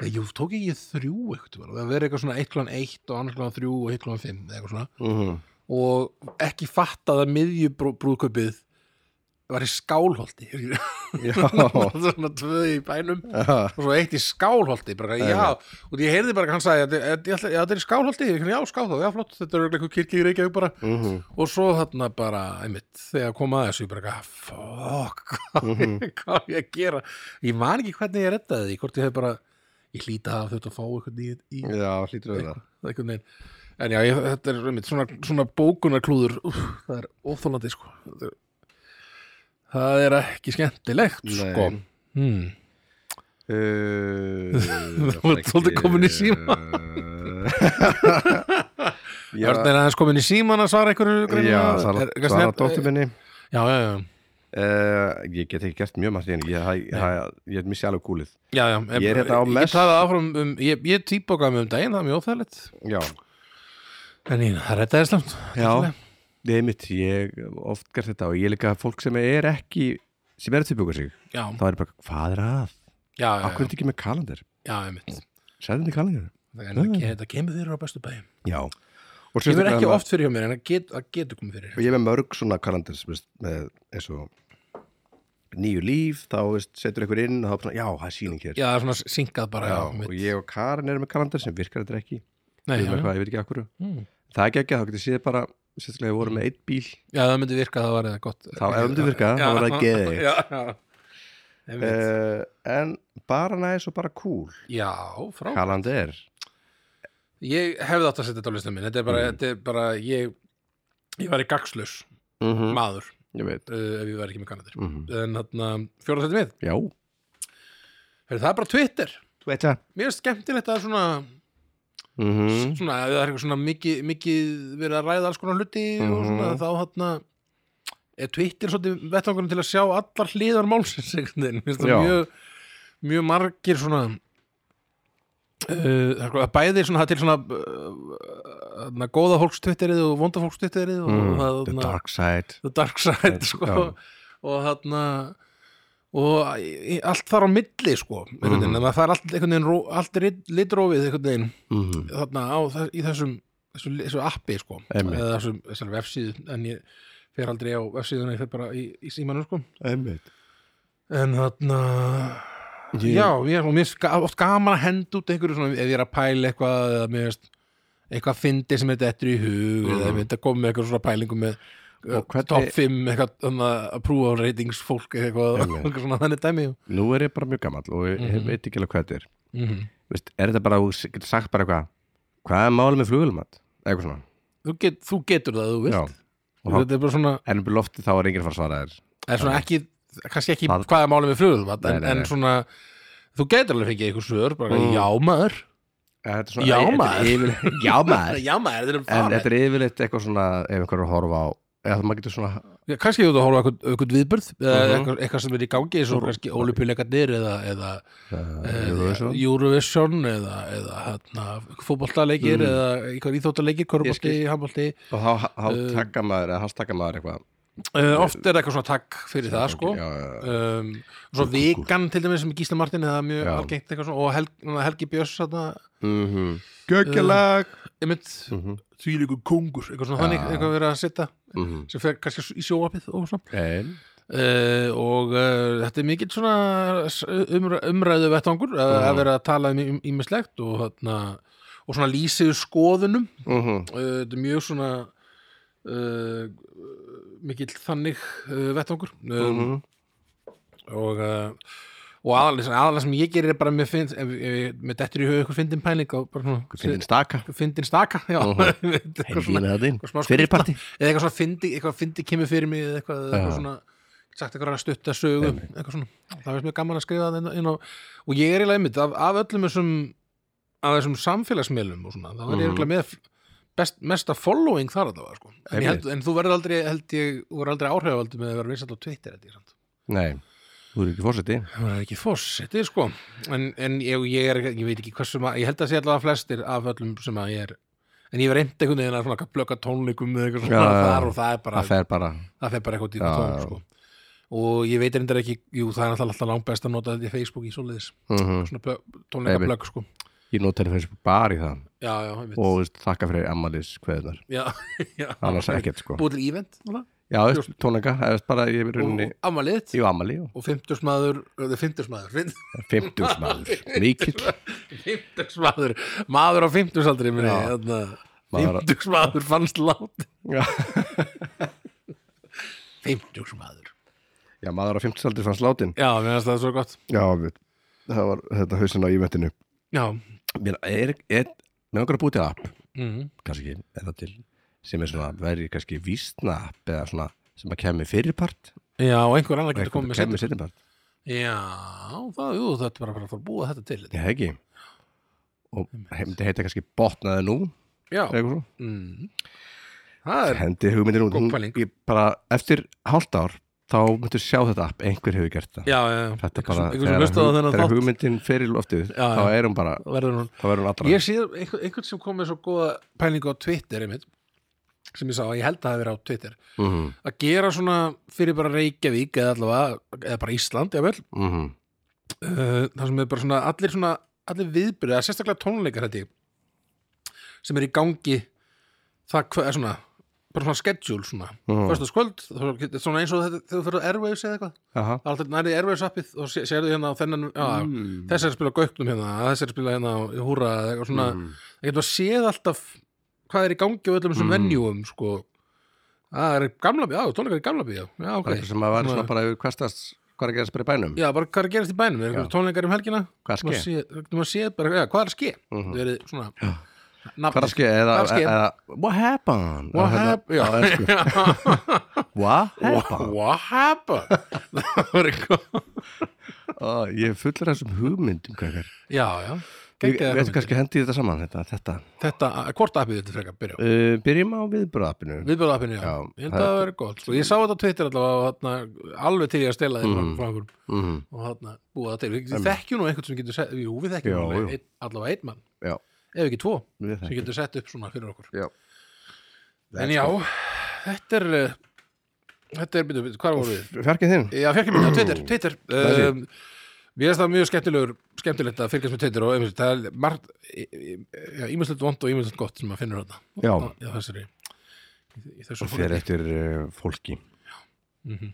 B: eða, jú, tók ekki þrjú eitthvað það verið eitthvað svona eitt klán eitt og annars klán þrjú og eitt klán fimm eða eitthvað svona
A: mm,
B: og ekki fattað að miðju brú, brúðkaupið var í skálholti
A: já,
B: svona tvö í bænum
A: já,
B: og svo eitt í skálholti bara, já, og ég heyrði bara að hann sagði að, að, að, að, þetta er í skálholti, ég, já, skálholti, já, flott þetta er örugglega eitthvað kirkja í Reykjavík bara
A: mhm,
B: og svo þarna bara, einmitt, þegar kom að þessu ég bara, eitthvað, fuck hvað,
A: Mhm.
B: hvað á ég að gera ég man ekki hvernig ég reddaði því, hvort ég hef bara ég hlýta að þetta að fá eitthvað í, í
A: já, hlýtur við það
B: eitthvað neginn en já, ég, þetta er einmitt, svona, svona bókunarklúður úf, það er óþólandi sko Þetta er- það er ekki skemmtilegt sko
A: Nei.
B: hmm.
A: Uh,
B: Þú ert svolítið komin í síma.
A: Já,
B: Örn er aðeins komin í síman að svara einhverju
A: já
B: greinilega.
A: það
B: Er-
A: er
B: kannski
A: svara
B: nefnt-
A: dóttir minni
B: já, já, já,
A: uh, Ég get ekki gert mjög margt í henni Ég, ég, ég, ég missi alveg kúlið
B: já, já en-
A: Ég er hérna á
B: ég
A: mest-
B: talaði áfram um, ég, ég típokaði mig um daginn, það er mjög óþægilegt
A: Já,
B: En ég, það reddaði slæmt
A: já Nei mitt, ég hef oft gert þetta og ég er líka fólk sem er ekki sem er að tilbjóka sig
B: Já,
A: þá er bara, hvað er að?
B: já, já,
A: Akkur er þetta ekki með kalandir?
B: já, já, einmitt
A: Sæði þetta í kalandir?
B: En það ke- þetta kemur fyrir á bestu bæði
A: Já og
B: Ég verð
A: sérstaklega
B: ekki
A: með-
B: oft fyrir hjá mér, en það get, það getur komið fyrir
A: og ég er með mörg svona kalandir sem, veist, með eins og nýju líf, þá veist, setur einhver inn og þá er bara svona, já, það er síning hér
B: Já, það er svona syngað bara já,
A: og ég og Karin erum með kalandir sem virkar þetta ekki
B: Nei, já,
A: Við erum
B: já.
A: eitthvað, ég veit ekki akkur
B: Mm.
A: það er ekki ekki, þá getur séð bara sérstaklega við vorum með eitt bíl
B: já, það myndi virka, það var eða gott
A: þá ef þetta virka, þá var það geði
B: Já, já Einmitt.
A: uh, en bara næs og bara cool
B: Já, frá
A: kalandir
B: Ég hefði átt að setja þetta á listum minn Þetta er bara, þetta er bara ég, ég var í gagslaus
A: mm -hmm.
B: maður
A: ég veit
B: uh, ef ég var ekki með kannadir
A: mm -hmm.
B: En þarna, fjóra þetta mið
A: já,
B: Heyrðu, Það er bara Twitter
A: þú veit það
B: Mér er skemmtilegt að svona
A: mhm,
B: svona, ef það er eitthvað svona mikið, mikið verið að ræða alls konar hluti og
A: Mhm.
B: svona þá hérna er Twitter svolítið vettangunum til að sjá allar hliðar málsins einhvern veginn. Mér finnst
A: Já.
B: það mjög, mjög margir svona uh, það er sko- bæði svona það er til svona uh, na, góða fólks Twitterið og vonda fólks Twitterið og
A: Mm,
B: það,
A: the
B: na,
A: dark side
B: the dark side sko,
A: Já.
B: og þarna og í- í- allt þar á milli sko, einhvern veginn, mm. það er allt, einhvern veginn ró- allt lit- litrófið einhvern veginn
A: mhm,
B: þarna á, þess- í þessum þessu, þessu appi sko
A: Einmitt.
B: eða þessum, þessum vefsíðu en ég fer aldrei á vefsíðuna ég fer bara í, í símanum sko
A: einmitt
B: en þarna
A: Ég-
B: já, ég, og mér er ga- oft gaman að henda út einhverju svona ef ég er að pæla eitthvað eða mér veist eitthvað fyndi sem þetta eftir í hug eða ef þetta kom með eitthvað svona pælingu með
A: Mm. Og hvernig-
B: top 5 eitthvað, þannig að prúfa ratings fólk eitthvað,
A: Einmitt.
B: eitthvað svona þannig dæmi og-
A: nú er ég bara mjög gammal og ég
B: Mhm.
A: veit ekki alveg hvað þetta er
B: Mhm.
A: Vist, er þetta bara, þú getur sagt bara eitthvað hvað er málið með flugulmat? eitthvað svona
B: þú, get, þú getur það að þú
A: Já.
B: vilt
A: Og þá-
B: þetta er bara svona,
A: en upp í lofti þá er enginn að fara að svara þér
B: er svona ekki kannski ekki
A: Það-
B: hvaða máli með flugum en,
A: Nei, nei,
B: en
A: nei.
B: svona, þú getur alveg fengið eitthvað svör, bara
A: Mm.
B: já maður
A: Eh, þetta er svona-
B: Já,
A: eh, þetta er
B: maður.
A: yfirleitt- já maður
B: já maður, þetta er
A: en
B: farið
A: þetta er yfirleitt eitthvað svona ef einhver er að horfa á eða maður getur svona
B: Já, kannski þú ert að horfa á eitthvað, eitthvað viðbörð uh
A: Mhm.
B: eitthvað, eitthvað sem er í gangi eins og kannski olupileikarnir eða, eða
A: eh,
B: eða
A: Eurovision.
B: Eurovision eða, eða hérna, fótboltaleikir
A: Mm.
B: eða eitthvað íþóttaleikir,
A: Ég
B: korfbolti,
A: skil.
B: handbolti
A: og þá þá
B: Eh,
A: takka maður eða hashtagga maður eitthvað
B: uh, oft er eitthvað svona takk fyrir það sko
A: Já, já, já.
B: um, svo vikan til dæmis sem er Gísli Martin eða mjög
A: Já.
B: algengt eitthvað svona og Hel Helgi Björns þarna,
A: Mhm. Gökjalag
B: einmitt
A: Mhm.
B: þvílíkur kongur, eitthvað svona þannig
A: Já.
B: eitthvað verið að setja
A: Mhm.
B: sem fer kannski í sjóapið og svona
A: En,
B: Uh, og uh, þetta er mikill svona s- umr umræðu vettangur að,
A: Mhm.
B: að vera að tala um ím- ýmislegt og, þarna, og svona lýsiðu skoðunum
A: mhm.
B: uh, þetta er mjög svona uh, mikill þannig uh, vettangur um,
A: Mhm.
B: og uh, og aðalega, aðalega sem ég gerir er bara að mér finnst, ef, ef, ef mér dettur í höfu eitthvað fyndin pæling og bara svona
A: Fyndin staka
B: fyndin staka já,
A: Mhm.
B: eitthvað svona
A: Hendina þetta inn
B: eitthvað smá
A: Fyrirparti
B: eða eitthvað svona fyndi, eitthvað fyndi kemur fyrir mig eða eitthvað, eða eitthvað
A: Já.
B: svona sagt eitthvað að stutta sögu eitthvað svona, það finnst mjög gaman að skrifa það inn, á- inn á, og ég er eiginlega einmitt af, af öllum þessum, af þessum samfélagsmiðlum og svona, það var ég
A: Mhm.
B: eiginlega með best, mesta following þar að það var sko. en, ég held, en þú verður aldrei, held ég þú verður aldrei áhrifavaldi með að vera vinsall á Twitter held ég, samt.
A: Nei, þú eru ekki fórseti
B: það er ekki fórsetið sko en, en ég, ég er, ég veit ekki hversu ma- ég held að sé allavega flestir af öllum sem að ég er en ég var reynd einhvern veginn að svona blöka tónleikum eða eitthvað svona
A: Já, já, já.
B: þar og það er bara
A: Það fer bara
B: það fer bara eitthvað
A: Já,
B: dýra tón
A: já.
B: sko. og ég veit reyndar ekki, jú það er náttúrulega alltaf langbest að nota þetta í Facebook í svoleiðis
A: Mhm.
B: svona plö- tónleikaplögg sko
A: Ég nota henni fyrir bara í það
B: já, já, ég veit
A: og veist, þakka fyrir ammalis kveðunar
B: já, já,
A: annars ekkert sko
B: búið til ívent náttúrulega,
A: Já, veist, tónleika, eða veist bara ég er rauninni
B: og ammaliðt
A: í ammali og
B: og fimmtursmaður, eða fimmtursmaður
A: 50 maður, mikill
B: fimmtugsmaður, maður á fimmtugsaldri minni,
A: Já.
B: þarna
A: Maður á-
B: fimmtugsmaður fannst lát
A: Já.
B: fimmtugsmaður
A: Já, maður á 50 aldri fanns látin
B: já, mér finnst það svo gott
A: Já, við, það var þetta hausin á ímyndinu
B: já,
A: Mér er, er, með okkur að búið til app
B: mhm,
A: kannski, er það til sem er svona, verið kannski vísna app eða svona, sem að kemur fyrirpart
B: já, og einhver annar getur komið
A: eitthvað
B: með
A: kemur
B: sendur
A: setjumart
B: já, það, jú, þetta er bara að fara að búa þetta til
A: Já, ekki og myndi heita kannski botnaði nú
B: já,
A: eða eitthvað svo.
B: mhm. það er
A: hendi hugmyndir út
B: Góð
A: Hún-
B: pæling.
A: ég bara, eftir hálft ár þá myndu sjá þetta app, einhver hefur gert það
B: já, já, já.
A: þetta
B: Einhver
A: bara,
B: sem- einhver sem hlustaði á
A: hug-
B: þennan
A: þegar
B: þátt
A: hugmyndin fer í loftið
B: Já,
A: þá
B: já.
A: er hún bara,
B: verður hún
A: þá verður hún allra
B: Ég sé einhver, einhvern sem kom með svo góða pælingu á Twitter einmitt, sem ég sá að ég held að það hafi verið á Twitter
A: mm -hmm,
B: að gera svona fyrir bara Reykjavík eða allavega, eða bara Ísland jafnvel,
A: mm -hmm.
B: uh, þar sem er bara svona allir svona, allir viðbyrðið, sérstaklega tónleikar hætti sem er í gangi það hvað er svona bara svona schedule svona,
A: Mhm.
B: föstaskvöld svona eins og þetta, þegar þú fyrir á Airwaves eða eitthvað,
A: Aha.
B: það er alltaf nærið Airwaves appið og sé- sérðu hérna á þennan já,
A: Mm.
B: þess er að spila á gauknum hérna, að þess er að spila hérna á húra eða eitthvað svona,
A: Mm.
B: það getur að séð alltaf hvað er í gangi á öllum þessum
A: Mhm.
B: venjúum sko, það er gamla bíð, já, tónleikar í gamla bíð, já,
A: bara
B: ok
A: eitthvað sem að væri svona
B: Svona-
A: bara yfir hverstast hvað er að gerast bara í bænum,
B: Já, bara hvað er að gerast í bænum, er eitthvað tónleikar um helgina
A: Hvað er að ske?
B: Þú maður séð bara, já, hvað er að ske?
A: Mhm.
B: Það er svona
A: Já.
B: nafnið.
A: hvað er að ske eða,
B: Hvað er að ske?
A: eða what happened
B: What
A: Eða hérna,
B: happened?
A: á ensku. what happened
B: What happened? Það var eitthvað
A: Ó, ég er fullur af þessum hugmyndum krakkar.
B: Já, já
A: ég
B: Geggjaðar
A: veit
B: hugmyndir.
A: kannski hendi ég þetta saman þetta, þetta.
B: Þetta, hvort appið þetta frekar byrja á?
A: Uh, byrjum á viðbröðappinu
B: Viðbjörðu appinu, já
A: Já,
B: Ég held að það verið gott sko. Ég sá þetta á Twitter allavega og þarna, alveg til ég að stela þér
A: Mhm.
B: frá okkur
A: mm.
B: og þarna búa það til Við við þekkjum nú einhvern sem getur sett Jú, við þekkjum
A: Já,
B: alveg
A: já.
B: einn- allavega einn mann
A: Já.
B: Ef ekki tvo
A: Við
B: sem
A: þekkjum.
B: getur sett upp svona fyrir okkur
A: Já.
B: En já, þetta er eh, þetta er, byrju, byrju, hvað voru við?
A: fjarkið þinn
B: Já, fjarkið minn á Twitter, Twitter
A: Það er
B: um, Mér finnst það mjög skemmtilegur skemmtilegt að fylgjast með Twitter og einmitt, það er margt í- í- já, ímislegt vond og ímislegt gott sem maður finnur þarna
A: Já.
B: já þessari í- í þessu
A: og fer
B: fólki.
A: eftir uh, fólki
B: Mhm.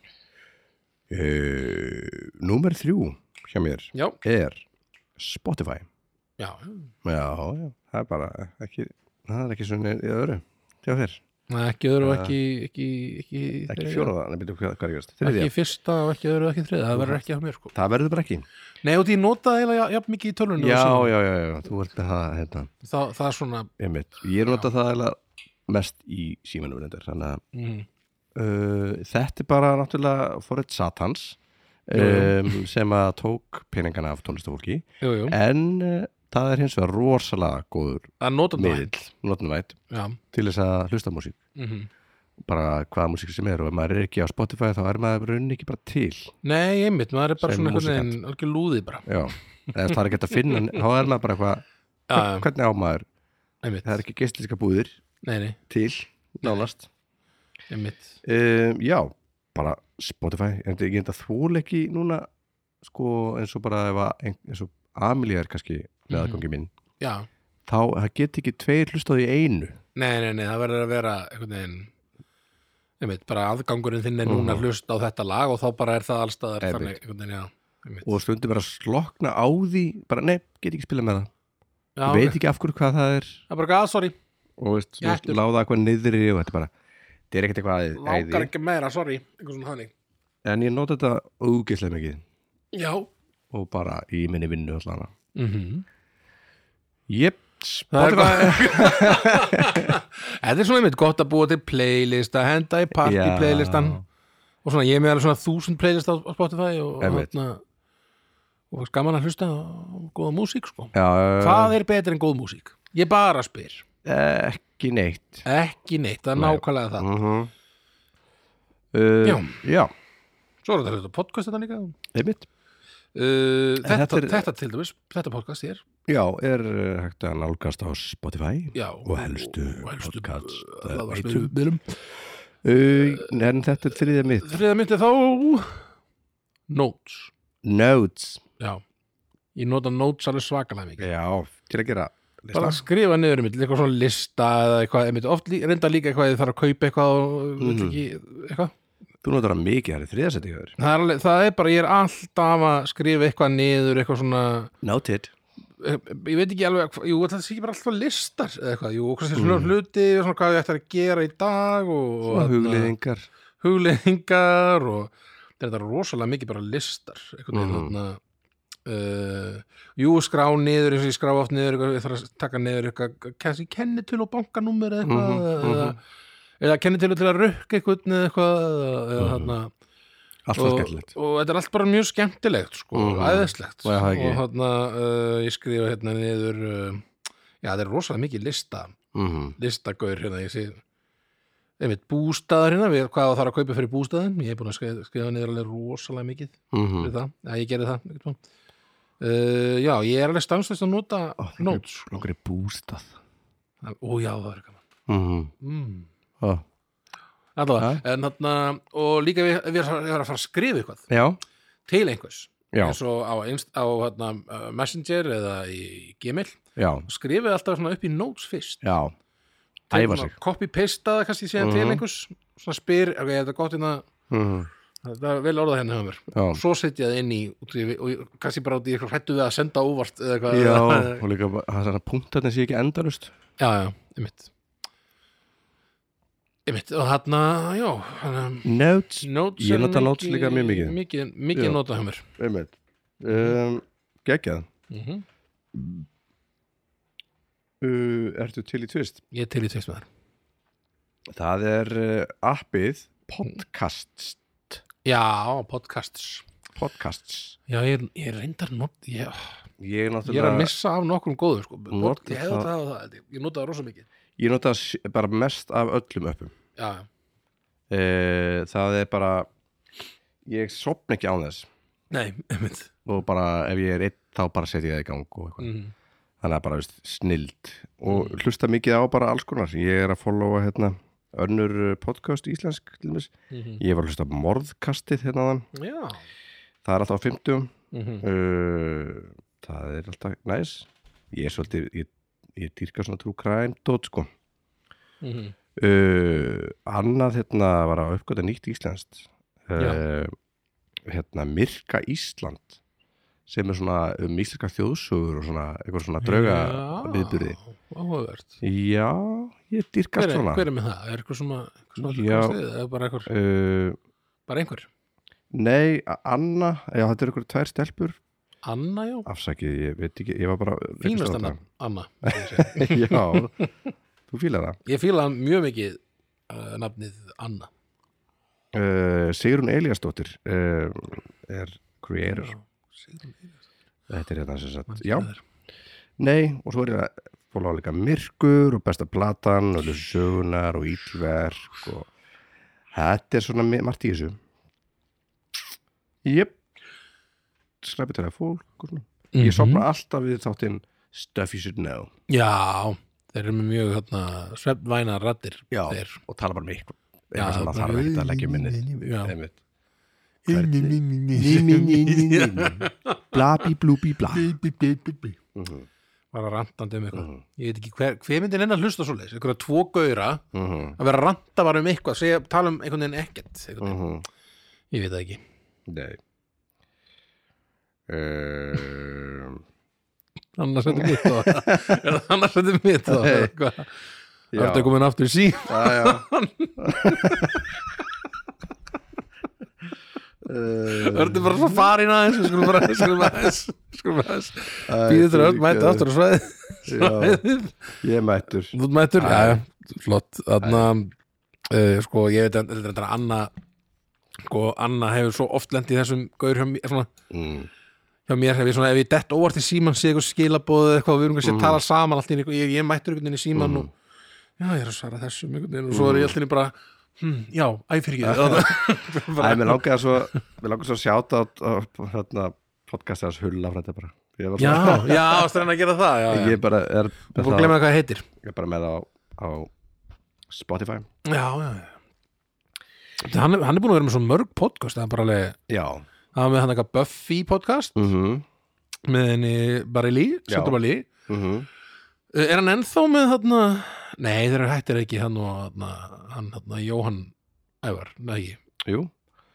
A: uh, Númer þrjú hjá mér
B: Já,
A: er Spotify
B: já,
A: Já, já, það er bara ekki það er ekki svona í öðru hjá þér
B: Nei, ekki öðru og
A: Ja.
B: ekki ekki, ekki,
A: Eh, ekki
B: þriðja.
A: fjóraða, nefnir þú hvað, hvað er ég veist
B: ekki
A: þriðja,
B: fyrsta og ekki öðru og ekki þriða það verður ekki að mér sko
A: það verður bara ekki já,
B: Nei, og því ég notaði eiginlega ja- jafn mikið í tölunni
A: já,
B: og
A: já, já, já, þú ert með það hérna,
B: símanum. það, það er svona
A: einmitt, ég er notað það eiginlega mest í símanum reyndar, þannig að
B: mm,
A: uh, þetta er bara náttúrulega forrið satans
B: Jú, jú.
A: um, sem að tók peningana af tónlistafólki
B: jú, jú.
A: en uh, það er hins vegar rosalega góður
B: það notum það
A: miðill, notunvætt
B: já,
A: til þess að hlusta á músík
B: mm
A: bara hvaða músík sem er og ef maður er ekki á Spotify þá er maður raunin ekki bara til
B: Nei, einmitt, maður er bara
A: Sem
B: svona einhvern
A: músikant.
B: veginn algjör lúði bara
A: já, eða það er ekki hægt að finna þá er maður bara eitthvað,
B: Já, já,
A: hvernig á maður
B: einmitt,
A: það er ekki geistlíska búðir
B: nei, nei,
A: til nánast
B: einmitt
A: um, já, bara Spotify en þetta er ekki þetta þvóleiki núna sko eins og bara ef að ein- eins og Amelia er kannski með
B: Mhm.
A: aðgangi minn
B: Já,
A: þá það get ekki tveir hlustaði í einu
B: nei, nei, nei, það verður að vera einhvern veginn einmitt, bara aðgangurinn þinn er núna
A: Mhm.
B: hlust á þetta lag og þá bara er það allstaðar
A: Einmitt.
B: þannig, einhvern veginn, já, einmitt
A: og stundum bara slokna á því bara nei, get ekki spila með það
B: Já,
A: ég veit
B: ok.
A: ekki af hverju hvað það er
B: Það er bara gæða, sorry,
A: og veist,
B: Ég
A: þú veist,
B: ætti-
A: láða eitthvað niðri og þetta bara, þetta er ekkert eitthvað að- að
B: lágar
A: æði
B: ekki meira, sorry einhvern svona þannig
A: en ég nota þetta ógeðslega mikið
B: Já
A: og bara í minni vinnu allan
B: mm
A: Mhm. Jep,
B: Það er
A: Spotify
B: Þetta er svona einmitt gott að búa til playlist að henda í party
A: Já.
B: playlistan og svona ég er með alveg svona þúsund playlist á, á Spotify og
A: Einmitt.
B: hérna og fannst gaman að hlusta á góða músík sko.
A: Já,
B: Hvað er betur en góð músík? Ég bara spyr,
A: ekki neitt
B: ekki neitt það er
A: Nei.
B: nákvæmlega það.
A: -huh.
B: Já.
A: uh, Mhm. Já,
B: Svo er þetta hluta podcast þetta líka
A: einmitt
B: uh, þetta,
A: þetta
B: þetta,
A: er-
B: til dæmis, þetta podcast er
A: Já, er uh, hægt að nálgast á Spotify
B: já,
A: og helstu
B: og helstu
A: podcast,
B: uh,
A: uh,
B: hlaðvarpsmiðlum.
A: uh, En þetta er þriðja mitt
B: Þriða myndi þá Notes
A: Notes
B: Já, ég nota notes alveg svakalega mikið
A: Já, til að gera
B: bara
A: lista.
B: skrifa niður einmitt, eitthvað svona lista eða eitthvað, einmitt, oft lí, reynda líka eitthvað ég þarf að kaupa eitthvað og mm.
A: Mhm.
B: ekki, eitthvað
A: Þú notar það mikið, það er þriðja seti hjá þér
B: það er, alveg, það er bara, ég er alltaf að skrifa eitthvað niður, eitthvað svona
A: Noted
B: eh, ég veit ekki alveg, hva- jú, það sé ekki bara alltaf listar eða eitthvað, jú, hvað sé svona hluti og svona hvað ég ætti að gera í dag og, hérna-
A: Og
B: og þarna,
A: hugliðingar
B: hugleiðingar og þetta er rosalega mikið bara listar einhvern veginn
A: Mhm.
B: þarna uh, jú, skrá niður eins og ég skrá oft niður eitthvað, ég þarf að taka niður eitthvað kannski kennitölu og bankanúmer eða eitthvað
A: Mhm,
B: eða, eða kennitölu til að rukka einhvern eða eitthvað eða, eða,
A: Mhm.
B: þarna,
A: Allt var
B: og,
A: skemmtilegt
B: og þetta er allt bara mjög skemmtilegt sko,
A: Mhm.
B: æðislegt
A: Og ég hafði ekki.
B: og þarna, uh, ég skrifa hérna niður uh, já, þetta er rosalega mikið lista
A: Mhm.
B: listagaur hérna, ég sé einmitt bústaðar hérna, við, hvað það þarf að kaupa fyrir bústaðin ég er búin að skrifa, skrifa niður alveg rosalega mikið
A: Mhm.
B: fyrir það, já ég gerði það einhvern tímann. uh, já, ég er alveg stanslist að nota
A: Ó, það er-
B: notes
A: Okkur er bústað
B: ó já, það er gaman
A: Mhm.
B: mm.
A: Ó,
B: allavega, en þarna og líka ef ég- ef ég er að fara að skrifa eitthvað
A: Já,
B: til einhvers
A: já,
B: eins og á, einst, á hérna, uh, Messenger eða í Gmail
A: já
B: skrifið alltaf svona upp í notes fyrst
A: Já, æfa sig
B: copy-pasta það kannski síðan til
A: Mhm.
B: einhvers svona spyr, ok, þetta er gott hérna
A: Mhm.
B: Það er vel orðað hérna hjá mér.
A: Já,
B: Og svo setja það inn í, út í og ég- kannski bara út í eitthvað hrættu við að senda óvart eða eitthvað.
A: já
B: Eða-
A: og líka bara- það er svona punktarnir sé ekki endalust
B: já, já, einmitt. Einmitt, og þarna, já, hann,
A: Notes
B: notes
A: Ég
B: er
A: nota
B: mikið-
A: notes líka mjög mikið.
B: Mikið,
A: Já.
B: mikið nota hjá mér.
A: Einmitt um, Gekkjað
B: Mm
A: uh, Ertu til í tvist?
B: Ég er til í tvist með þar.
A: Það er uh, appið Podcasts
B: Já, podcasts.
A: Podcasts
B: Já, ég er, ég er reyndar not, ég, ah,
A: Ég,
B: ég er að
A: náttúrulega-
B: missa af nokkrum góðum, sko. Pod,
A: Nota
B: ég hefði
A: það.
B: þetta að það, held ég, ég nota það rosa mikið.
A: ég nota s- bara mest af öllum öppum
B: Já,
A: uh, Það er bara Ég sopna ekki án þess
B: nei, einmitt.
A: og bara ef ég er einn þá bara setja ég það í gang og eitthvað
B: Mm.
A: þannig að bara veist, snild og hlusta mikið á bara alls konar ég er að followa hérna önnur eh, podcast íslensk til mér
B: Mm
A: ég var að hlusta á morðkastið hérna þann
B: Já.
A: það er alltaf á 50
B: Mm
A: uh, það er alltaf næs ég er svolítið ég, ég týrka svona trú crime dot sko
B: Mhm.
A: uh, annað hérna var að uppgöta nýtt íslenskt uh, hérna Myrka Ísland sem er svona um íslenska þjóðsugur og svona, eitthvað svona drauga viðburði.
B: áhugavert
A: Já, ég dýrkast
B: hver er,
A: svona.
B: hver er með það? Er eitthvað svona, eitthvað svona
A: Já.
B: hlutast við? Eða bara einhver,
A: Uh,
B: bara einhver?
A: nei, A- Anna, já, þetta eru ykkur tvær stelpur,
B: Anna, já,
A: afsakið, ég veit ekki, ég var bara...
B: fínast Anna Anna, ég sé.
A: já, þú fílar það.
B: ég fíla mjög mikið uh, nafnið Anna
A: Uh, Sigrun Eliasdóttir uh, er creator.
B: Sigrún Einarsdóttir.
A: Þetta er hérna sem sagt,
B: Manstu
A: já,
B: með þær?
A: nei, og svo er það fólá líka myrkur og besta platan og ljósu sögunar og ítlverk og þetta er svona mi- margt í þessu. Jöp, slæpi til það fólk og svona. Ég
B: Mhm.
A: sopna alltaf við þáttinn Stuff You Should Know
B: Já, þeir eru með mjög hérna, svefnvæna rattir
A: Já.
B: þeir.
A: og tala bara um ykkur.
B: Já,
A: Eitthvað sem maður
B: bara-
A: þarf ekkert að leggja í minnið.
B: Já.
A: Einmitt.
B: Blabi,
A: blúbi, blá. Mhm.
B: Bara rantandi um eitthvað
A: Mhm.
B: Ég veit ekki hver, hver myndi neina að hlusta svoleiðis einhverja tvo gauðra
A: Mhm.
B: að vera að ranta bara um eitthvað segja, tala um einhvern veginn ekkert einhvern veginn.
A: Mhm.
B: Ég veit það ekki
A: Nei uh,
B: Annars er þetta mitt á það. Annars er þetta mitt á það.
A: Nei.
B: Eitthvað. Það er þetta komin aftur í sí
A: já, já. Uh, Øh,
B: Það er þetta bara svo farin aðeins Við skulum bara skulum aðeins skulum aðeins Býðu þetta öll mæta aftur á svæðið svæðið.
A: Ég er mættur
B: Þú ert mættur,
A: Já.
B: já, já, flott Þarna, uh, sko, ég veit að þetta er Anna sko, Anna hefur svo oft lent í þessum gaur hjá mér, svona,
A: mm.
B: hjá mér hef ég svona, ef ég dett óvart í síman sé eitthvað skilabóð eða eitthvað, við erum kannski að tala saman allt í einu, ég, ég er mættur einhvern veginn
A: Mm.
B: í síman og já, ég er að svara þessum einhvern veginn og svo er ég alltaf bara, hm, já, æ, fyrir ekki
A: Æ, mér langaði svo Mér langaði svo að sjáta hérna, podcastið hans hulla frá þetta bara Ég var
B: Já,
A: svona
B: já, strenna að gera það, já, já
A: Ég bara er,
B: Þú fór að glemma hvað það heitir
A: ég er bara með á, á Spotify
B: Já, já, já Þetta- Hann, er- hann er búin að vera með svo mörg podcast það er bara alveg
A: Já
B: Það var með hann eitthvað Buffy podcast
A: mm -hmm.
B: með henni Barili,
A: Já.
B: Sandra Barili
A: mhm.
B: Er hann ennþá með þarna Nei, þeir eru hættir ekki hann og þarna, hann, þarna, Jóhann Ævar, nei, ekki.
A: Jú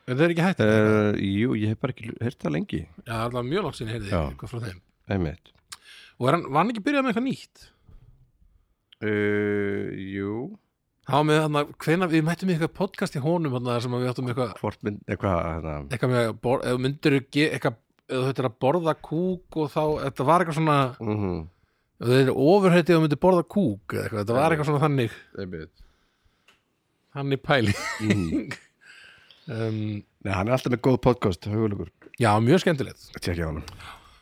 B: er þeir ekki hættir?
A: uh, Jú, ég hef bara ekki heyrt það lengi
B: Já, alltaf mjög langt sinni heyrði
A: Já.
B: eitthvað frá þeim
A: Einmitt
B: Og er hann, var hann ekki byrjað með eitthvað nýtt?
A: uh, Jú
B: Há með þarna, hvenær, við mættum í eitthvað podcast í honum þarna þar sem að við áttum eitthvað
A: Hvort mynd, eitthvað hérna,
B: eitthvað með, að bor, eða myndir ekki eitthvað, eða þú ættir að borða kúk og þá, þetta var eitthvað svona
A: mm
B: ef þeir eru ofurheitið og myndir borða kúk eða eitthvað, þetta var eitthvað svona þannig
A: Einmitt
B: þannig pæli
A: Mm.
B: um,
A: Nei, hann er alltaf með góð podcast, hugulugur
B: Já, mjög skemmtilegt
A: Tjekkja á hann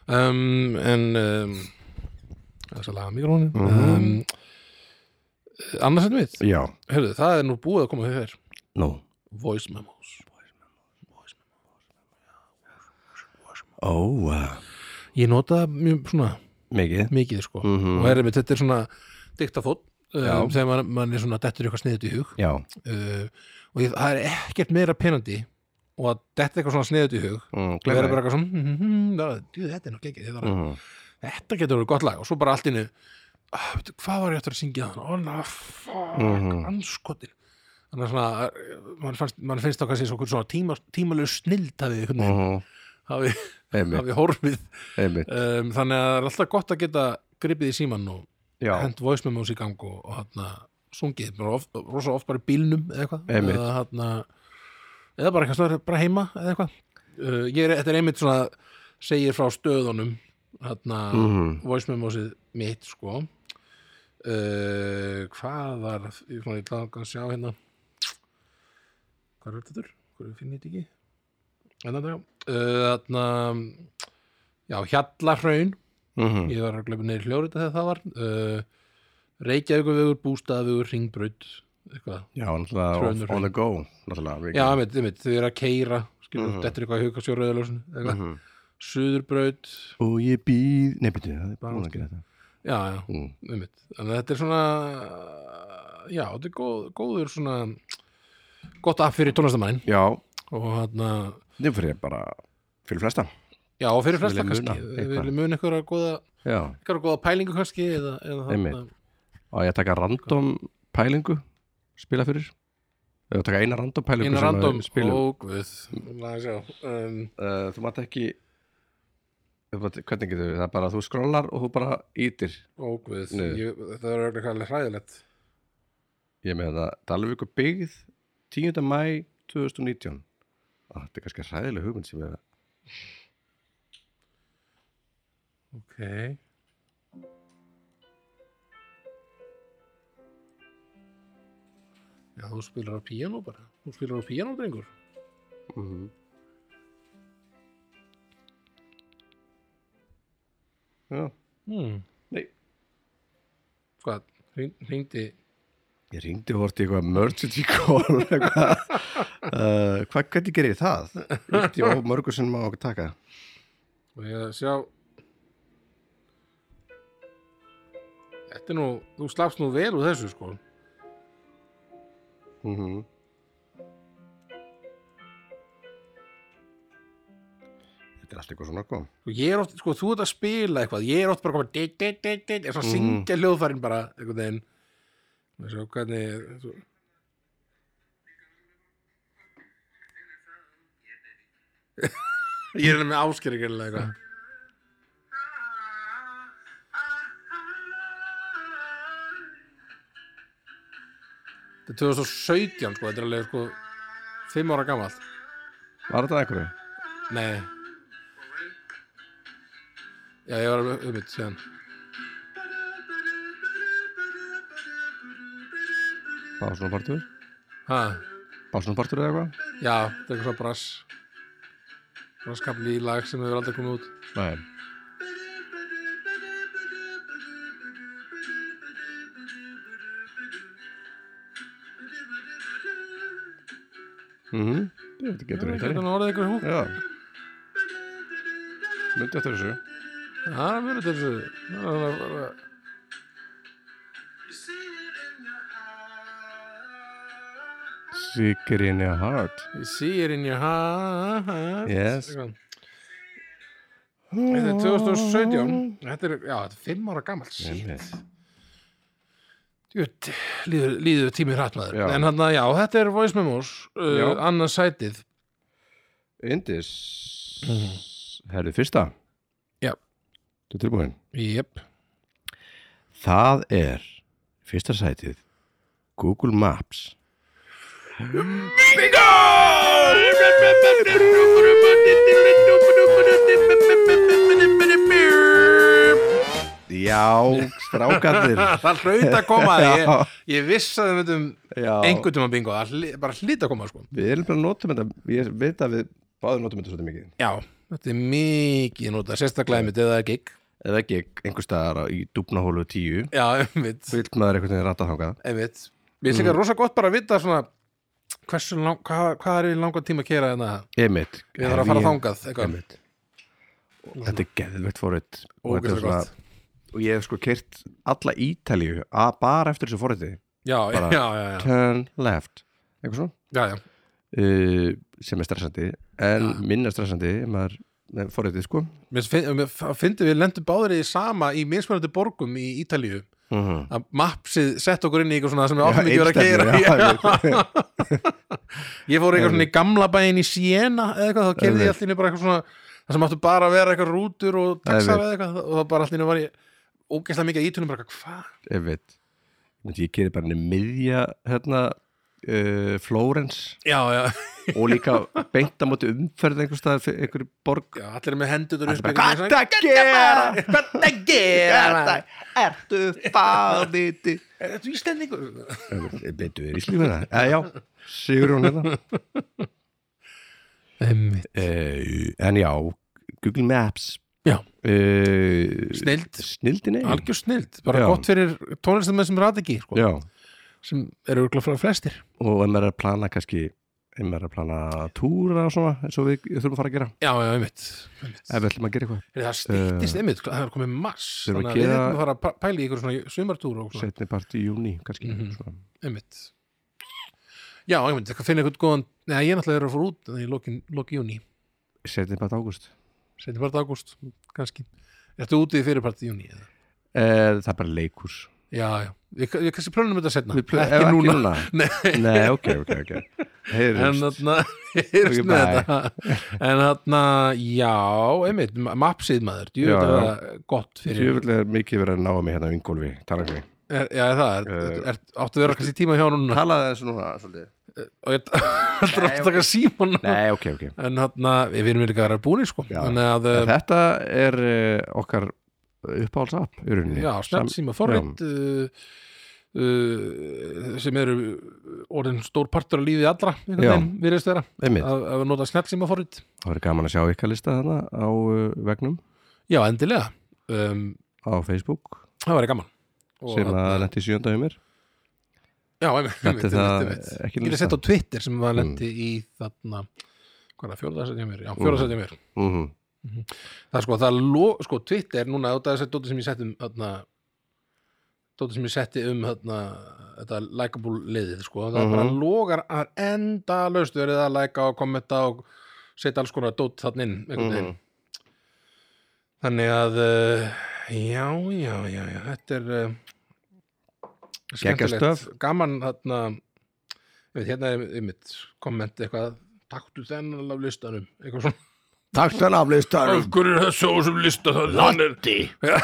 B: um, en um, þess að laga mikrónin um,
A: Mhm.
B: annars en við,
A: Já,
B: hörðu, það er nú búið að koma fyrir þér
A: nú
B: voice memos
A: Ó, uh,
B: ég nota það mjög svona
A: mikið
B: mikið sko
A: Mhm.
B: og er einmitt, þetta er svona diktafót
A: Já.
B: um, þegar mann man er svona dettur í eitthvað sniðut í hug
A: Já,
B: uh, og ég, það er ekkert meira penandi og að detta eitthvað svona sniðut í hug
A: mm,
B: og vera
A: glemma
B: bara eitthvað svona mm -hmm, da, djú, þetta er nokk ekki, þetta er
A: mm.
B: þetta getur verið gott lag og svo bara allt inni ah, veitu, hvað var ég eftir að syngja þann oh, na, fuck,
A: Mhm.
B: anskotin þannig að svona mann, fannst, mann finnst þá kannski svona, svona tíma, tímalegu snild hafi, einhvern veginn,
A: Mm.
B: hafi,
A: Einmitt,
B: hafi horfið
A: einmitt
B: um, þannig að það er alltaf gott að geta gripið í símann og
A: Já,
B: hent voice memos í gang og, og hann sungið, bara of, rosa oft bara í bílnum eða eitthvað,
A: Einmitt.
B: eða hann eða bara kannski bara heima eða eitthvað uh, ég er, þetta er einmitt svona segir frá stöðunum hann að
A: mm.
B: voice memosið mitt sko uh, hvað var ég svona ég langa að sjá hérna hvað er þetta þurr? hvað finn ég þetta ekki? Hérna, já. Uh, þarna já, Hjallahraun
A: Mm.
B: ég var að glemja neyri hljórit þegar það var uh, Reykjavíkurvegur, Bústaðavegur, Ringbraut eitthvað
A: Já, náttúrulega
B: Trönur.
A: off- on the go Náttúrulega mikið.
B: já, einmitt, einmitt, þau eru að keira skilur,
A: Mhm.
B: þetta er eitthvað í hugastjórauðalösun eitthvað,
A: Mhm.
B: Suðurbraut
A: Og ég býð, nei, byrju, það er bara að gera þetta
B: já, já,
A: mm.
B: einmitt. Þannig að þetta er svona já, þetta er góð, góður svona gott app fyrir tónlistamannin
A: Já,
B: og hann
A: þetta er fyrir bara fyrir flesta
B: já, og fyrir flesta
A: Vilja muna
B: kannski við
A: eitthvað.
B: viljum muna einhverja góða
A: Já,
B: einhverja góða pælingu kannski eða, eða
A: Einmitt. og ég að taka random pælingu spila fyrir Ég að taka eina random pælingu
B: eina
A: sem að
B: random
A: spilum Eh,
B: og guð Laga að sjá. um,
A: uh, þú mátt ekki hvernig getur við það er bara að þú skrólar og þú bara ítir
B: Ógvið,
A: Nei.
B: ég, það er auðvitað alveg hræðilegt
A: ég með það Dalvíku byggð 10. mæ 2019 Á, þetta er kannski hræðileg hugmynd sem ég
B: Ok Já, þú spilar á píanó bara Þú spilar á píanó, drengur
A: mm -hmm. já,
B: hmm.
A: nei
B: Hvað, hring- hringdi
A: Ég ringdi og vorti eitthvað emergency call eitthvað. Uh, hvað, hvernig gerir ég það? Ítti á mörgur sem má okkur taka
B: og ég að sjá Þetta er nú, þú slappst nú vel úr þessu sko
A: mm Þetta er allt eitthvað svona kom
B: Sko, ég er oft, sko, þú ert að spila eitthvað, ég er oft bara að koma dit, dit, dit, dit, eins og að syngja hljóðfærin bara, einhvern veginn. Og sjá hvernig, er, svo... Ég er með áskering eða eitthvað. Þetta er 2017, sko, þetta er alveg, sko, 5 ára gamalt.
A: Var þetta einhverju?
B: Nei Já, ég var alveg ummynd síðan
A: Básunarpartur?
B: ha,
A: Básunarpartur eða eitthvað?
B: Já, þetta er eitthvað svona brass Brasskapli í lag sem hefur aldrei komið út
A: Nei Mhm, Þetta getur
B: Þetta
A: þetta
B: er nú orðið ykkur húk
A: Já Myndi eftir þessu
B: Það er mjög þetta þessu Það er bara-
A: Sigur in your heart
B: You see it in your heart
A: Yes.
B: Eitthvað. Þetta er 2017 Þetta er, já, þetta er 5 ára gammal
A: Einmitt.
B: Jött, líður, líður tími hrattmaður
A: Já.
B: En hann að, já, þetta er Voice Memos
A: Já.
B: uh, Annars sætið
A: Indis Herðu fyrsta
B: Já.
A: Þú er tilbúin
B: Jep
A: Það er fyrsta sætið Google Maps Já, strákarnir
B: Það hlaut að koma að ég,
A: Já.
B: ég viss að við myndum
A: Já,
B: einhvern tíma bingo, það hli- bara hlýta að koma sko.
A: við erum bara að nota þetta Ég veit að við báðum notum þetta svolítið mikið
B: Já, þetta er mikið nota, sérstaklega einmitt eða það er gig
A: Eða ekki einhver staðar á- í dúfnahólu tíu
B: Já, einmitt,
A: Vill maður einhvern veginn rata þangað
B: einmitt Mér finnst
A: Mm.
B: líka rosa gott bara að vita svona hversu lang, hvað, hvað er í langan tíma að kera en það
A: Emmitt
B: Við þarfum að fara þangað, eitthvað
A: Einmitt. Þetta er geðveikt forrið og, þetta er
B: Ógeðslega gott.
A: og ég hef sko kert alla Ítalíu að bara eftir þessu forriði
B: Já, já,
A: Bara-
B: já, já, já,
A: turn left eitthvað svona
B: já, já.
A: uh, sem er stressandi en
B: Já.
A: minna stressandi ef maður með forriðið sko
B: Mér finnst við lendum báðir í sama í mismunandi borgum í Ítalíu
A: mm
B: að mapsið sett okkur inn í eitthvað svona sem við áttum ekki verið að gera Já, Ég fór eitthvað svona í gamla bæin í Siena eða eitthvað, þá kerði ég allt inni bara eitthvað svona það sem áttu bara að vera eitthvað rútur og dagsar eða eitthvað og það bara allt inni var ég ógeðslega mikið að ítunum bara eitthvað, hvað?
A: ég veit Myndi ég gerir bara henni miðja hérna uh, Flórens
B: Já, já,
A: og líka beint á móti umferð einhver staðar fyrir einhverju borg
B: já, allir er með hendur
A: Allir bara, Hvað það gera?
B: Hvað það gera?
A: Ertu fáðið
B: Er þetta íslendingur?
A: Betur við í slífum það? Eh, já, sigur hún hérna
B: Einmitt.
A: eh, En já, Google Maps
B: Já.
A: eh,
B: Snilld.
A: Snildin eigin
B: Algjör snild, bara
A: Já.
B: gott fyrir tónlistamenn sem ræði ekki, sko,
A: Já,
B: sem eru örugglega frá flestir
A: og ef maður er að plana kannski ef maður er að plana túra og svona eins og við þurfum að fara að gera
B: Já, já, einmitt, einmitt.
A: ef við ætlum að gera eitthvað
B: Heyrðu, Það stýttist einmitt, sko, það er komið mass
A: Þurfum að
B: Þannig að við
A: gera-
B: ætlum að fara að pæ- pæla í ykkur svona sumartúr og svona
A: setni part í júni kannski
B: Mhm.
A: svona.
B: einmitt já, einmitt, það finna eitthvað góðan neða, ég náttúrulega er að fara út þannig í lokin, loki júni,
A: setni part águst
B: setjum bara ágúst kannski, ertu úti í fyrirparti júni eða?
A: eh, það er bara leikurs
B: já, já, ég, ég kannski plönum þetta setna
A: Við plö- ef
B: núna.
A: Nei, hérna. Nei ok, ok, ok
B: en
A: Heyrumst
B: þarna heyrst
A: Ok,
B: með
A: bye.
B: þetta en þarna, já, einmitt mappsið maður, djú,
A: Já,
B: þetta
A: já.
B: var gott fyrir
A: Ég vil er mikið verið að náa mig hérna vingólfi Talangi
B: er, já, er það, er,
A: Eh,
B: er, áttu að vera kannski tíma hjá núna
A: Talaði þessu núna svolítið
B: og ég ætla að taka síman
A: Nei, ok, ok
B: en þarna, við erum líka að vera búin sko,
A: Já.
B: þannig að
A: En
B: eh,
A: Þetta er eh, okkar uppáhaldsapp í rauninni
B: já,
A: Sam-
B: snjálfsíma forrið uh, uh, sem eru orðin stór partur af lífið allra
A: Já.
B: við reist vera
A: Einmitt,
B: að, að nota snjálfsíma forrið
A: það verður gaman að sjá ykkar lista þarna á uh, vegnum
B: já, endilega um,
A: á Facebook
B: það væri gaman Og
A: sem að
B: þarna-
A: lendi sjönda hjá mér
B: Já, einmitt,
A: Þetta
B: einmitt,
A: er það
B: einmitt, einmitt. Ég
A: ekki
B: er að
A: lista.
B: setja á Twitter sem var lendi í þarna hvað er það, fjórðarsætti hjá mér? Já, fjórðarsætti hjá mér
A: mm
B: Það er sko, það lo, sko, Twitter núna þetta er þessi dóti sem ég setti um þarna dóti sem ég setti um þarna þetta likeable liðið, sko það
A: Mhm.
B: bara logar að enda laust verið að likea og kommenta og setja alls konar dót þarna inn einhvern veginn
A: Mhm.
B: Þannig að uh, já, já, já, já, þetta er uh,
A: Geggjað
B: skemmtilegt.
A: stöf.
B: Gaman þarna ég veit, hérna er mitt komment eitthvað, taktu þennan af listanum eitthvað svona,
A: Takk þannig af listanum
B: af hverju er þessu á þessum lista Landi Já,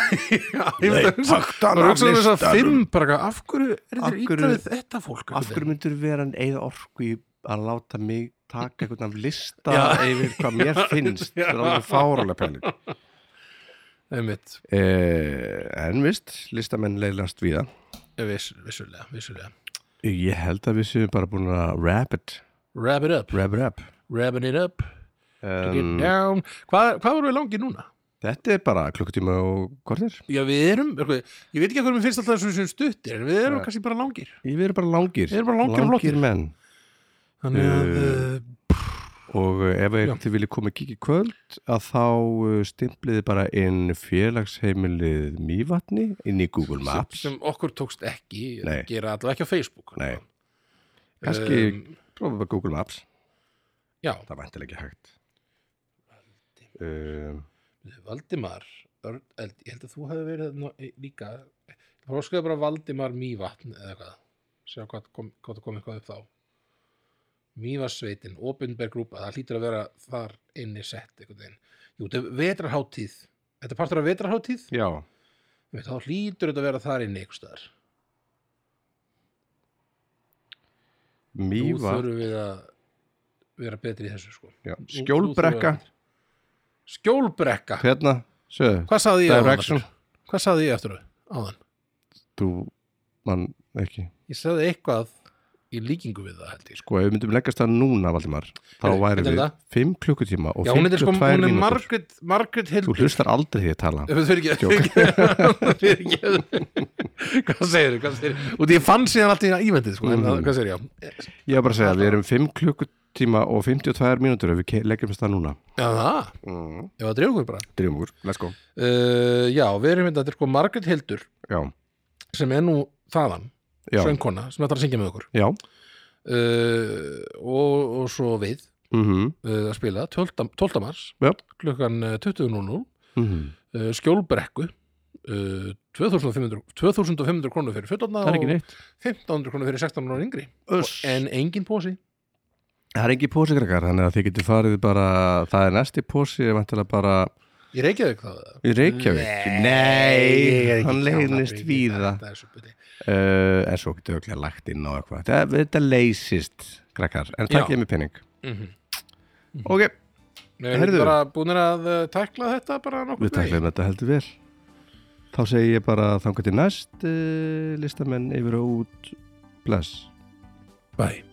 B: ég veit að hugsa
A: þannig
B: Það er svona þess að fimm bara eitthvað, af hverju er
A: Af
B: þetta ítla
A: hverju-
B: við þetta fólk
A: Af hverju myndur vera en eigða orku í að láta mig taka einhvern af lista
B: Já.
A: yfir hvað mér
B: Já.
A: finnst það er alveg fáralega pæling
B: einmitt,
A: eh, En vist, listamenn leilast við
B: eh, viss, vissulega, vissulega
A: Ég held að við séum bara búin að wrap it
B: Wrap it up,
A: Wrap it up
B: wrapping it up get it
A: um,
B: down Hvað, hvað vorum við langið núna?
A: Þetta er bara klukkutíma og kortir
B: Já, við erum, eitthvað, ég veit ekki að hvernig mér finnst alltaf þessum sem stuttir, en við erum
A: Nei.
B: kannski bara langir.
A: Við erum bara langir
B: Við erum bara langir og flottir.
A: menn
B: Þannig að,
A: Uh,
B: uh,
A: Og eh, ef
B: Já.
A: þið viljið koma að kíkja í kvöld að þá eh, stimpliði bara inn félagsheimilið Mývatni inn í Google
B: sem,
A: Maps
B: eh, sem okkur tókst ekki að
A: Nei.
B: gera allavega ekki á Facebook. sko.
A: Nei. Kannski um,
B: Um,
A: prófaðu bara Google Maps
B: já,
A: Það væntilega ekki hægt um,
B: Valdimar, Örn, Eld, ég held að þú hefði verið ná, líka, próskaðu bara Valdimar Mývatn eða eitthvað, sjá hvað kom, hvað það kom eitthvað upp þá. Mývarsveitin, Opinberg grúpa, það hlýtur að vera þar inni sett einhvern veginn. Jú, þetta er vetrarháttíð, þetta er partur af vetrarháttíð.
A: Já,
B: Ég veit, þá hlýtur þetta að vera þar inni einhvers staðar. Nú
A: Mývatn
B: þurfum við að vera betri í þessu sko.
A: já,
B: Nú- nú
A: Skjólbrekka,
B: þurfum við að- Skjólbrekka?
A: hérna Söðu,
B: Hvað saði ég
A: Direction
B: áðan? aftur? Hvað saði ég eftir áðan?
A: Þú, mann, ekki
B: Ég saði eitthvað í líkingu við það held ég sko.
A: Sko, ef við myndum leggast það núna, Valdimar þá
B: Heyrðu,
A: væri
B: þetta er
A: við
B: þetta.
A: 5 klukkutíma og
B: Já, hún er sko, hún
A: 52
B: er
A: mínútur
B: Margrét, Margrét
A: Þú
B: Hildur.
A: hlustar aldrei því að tala
B: Ef þú fyrir ekki, fyrir ekki, hvað segir hvað segir Og því ég fann síðan allt í það ívendið, sko, en
A: Mm.
B: hvað segir ég,
A: Ég var bara að segja að við erum 5 klukkutíma og 52 mínútur ef við ke- leggjumst það núna
B: já, það,
A: mm.
B: ég var að dreifu bara.
A: Drifum úr, let's go
B: Uh, já, við erum hérna, þetta er sko Margrét Hildur,
A: Já,
B: sem er nú þaðan,
A: já,
B: söngkona sem ætlar að syngja með okkur
A: já
B: uh, og, og svo við
A: mm
B: uh, að spila 12. 12. mars
A: Já.
B: klukkan eh, 20.00 uh,
A: Mhm.
B: skjólbrekku uh, 2500, 2500 krónur fyrir 14
A: Það er ekki
B: og
A: neitt
B: 1500 krónur fyrir 16 og yngri
A: Uss.
B: en engin pósi
A: Það er ekki pósikrakkar, þannig að þið getur farið bara, það er næsti pósi, ég vantilega bara
B: ég reykjaði ekki það
A: í Reykjavík.
B: ég er ekki
A: hann
B: klár
A: leynist
B: að
A: við
B: breyta
A: það.
B: þetta þessu bili.
A: Uh, en svo getur auðvitað lagt inn á eitthvað. Þetta, þetta leysist, krakkar,
B: Já.
A: en takk ég mig penning.
B: Mhm.
A: Ok,
B: við erum
A: Heyrðu.
B: bara búinir að eh, tækla þetta bara
A: við
B: nokkuð
A: taklaðum þetta heldur vel. Þá segi ég bara eh, þangar til næst, uh, listamenn yfir og út, bless.
B: bæ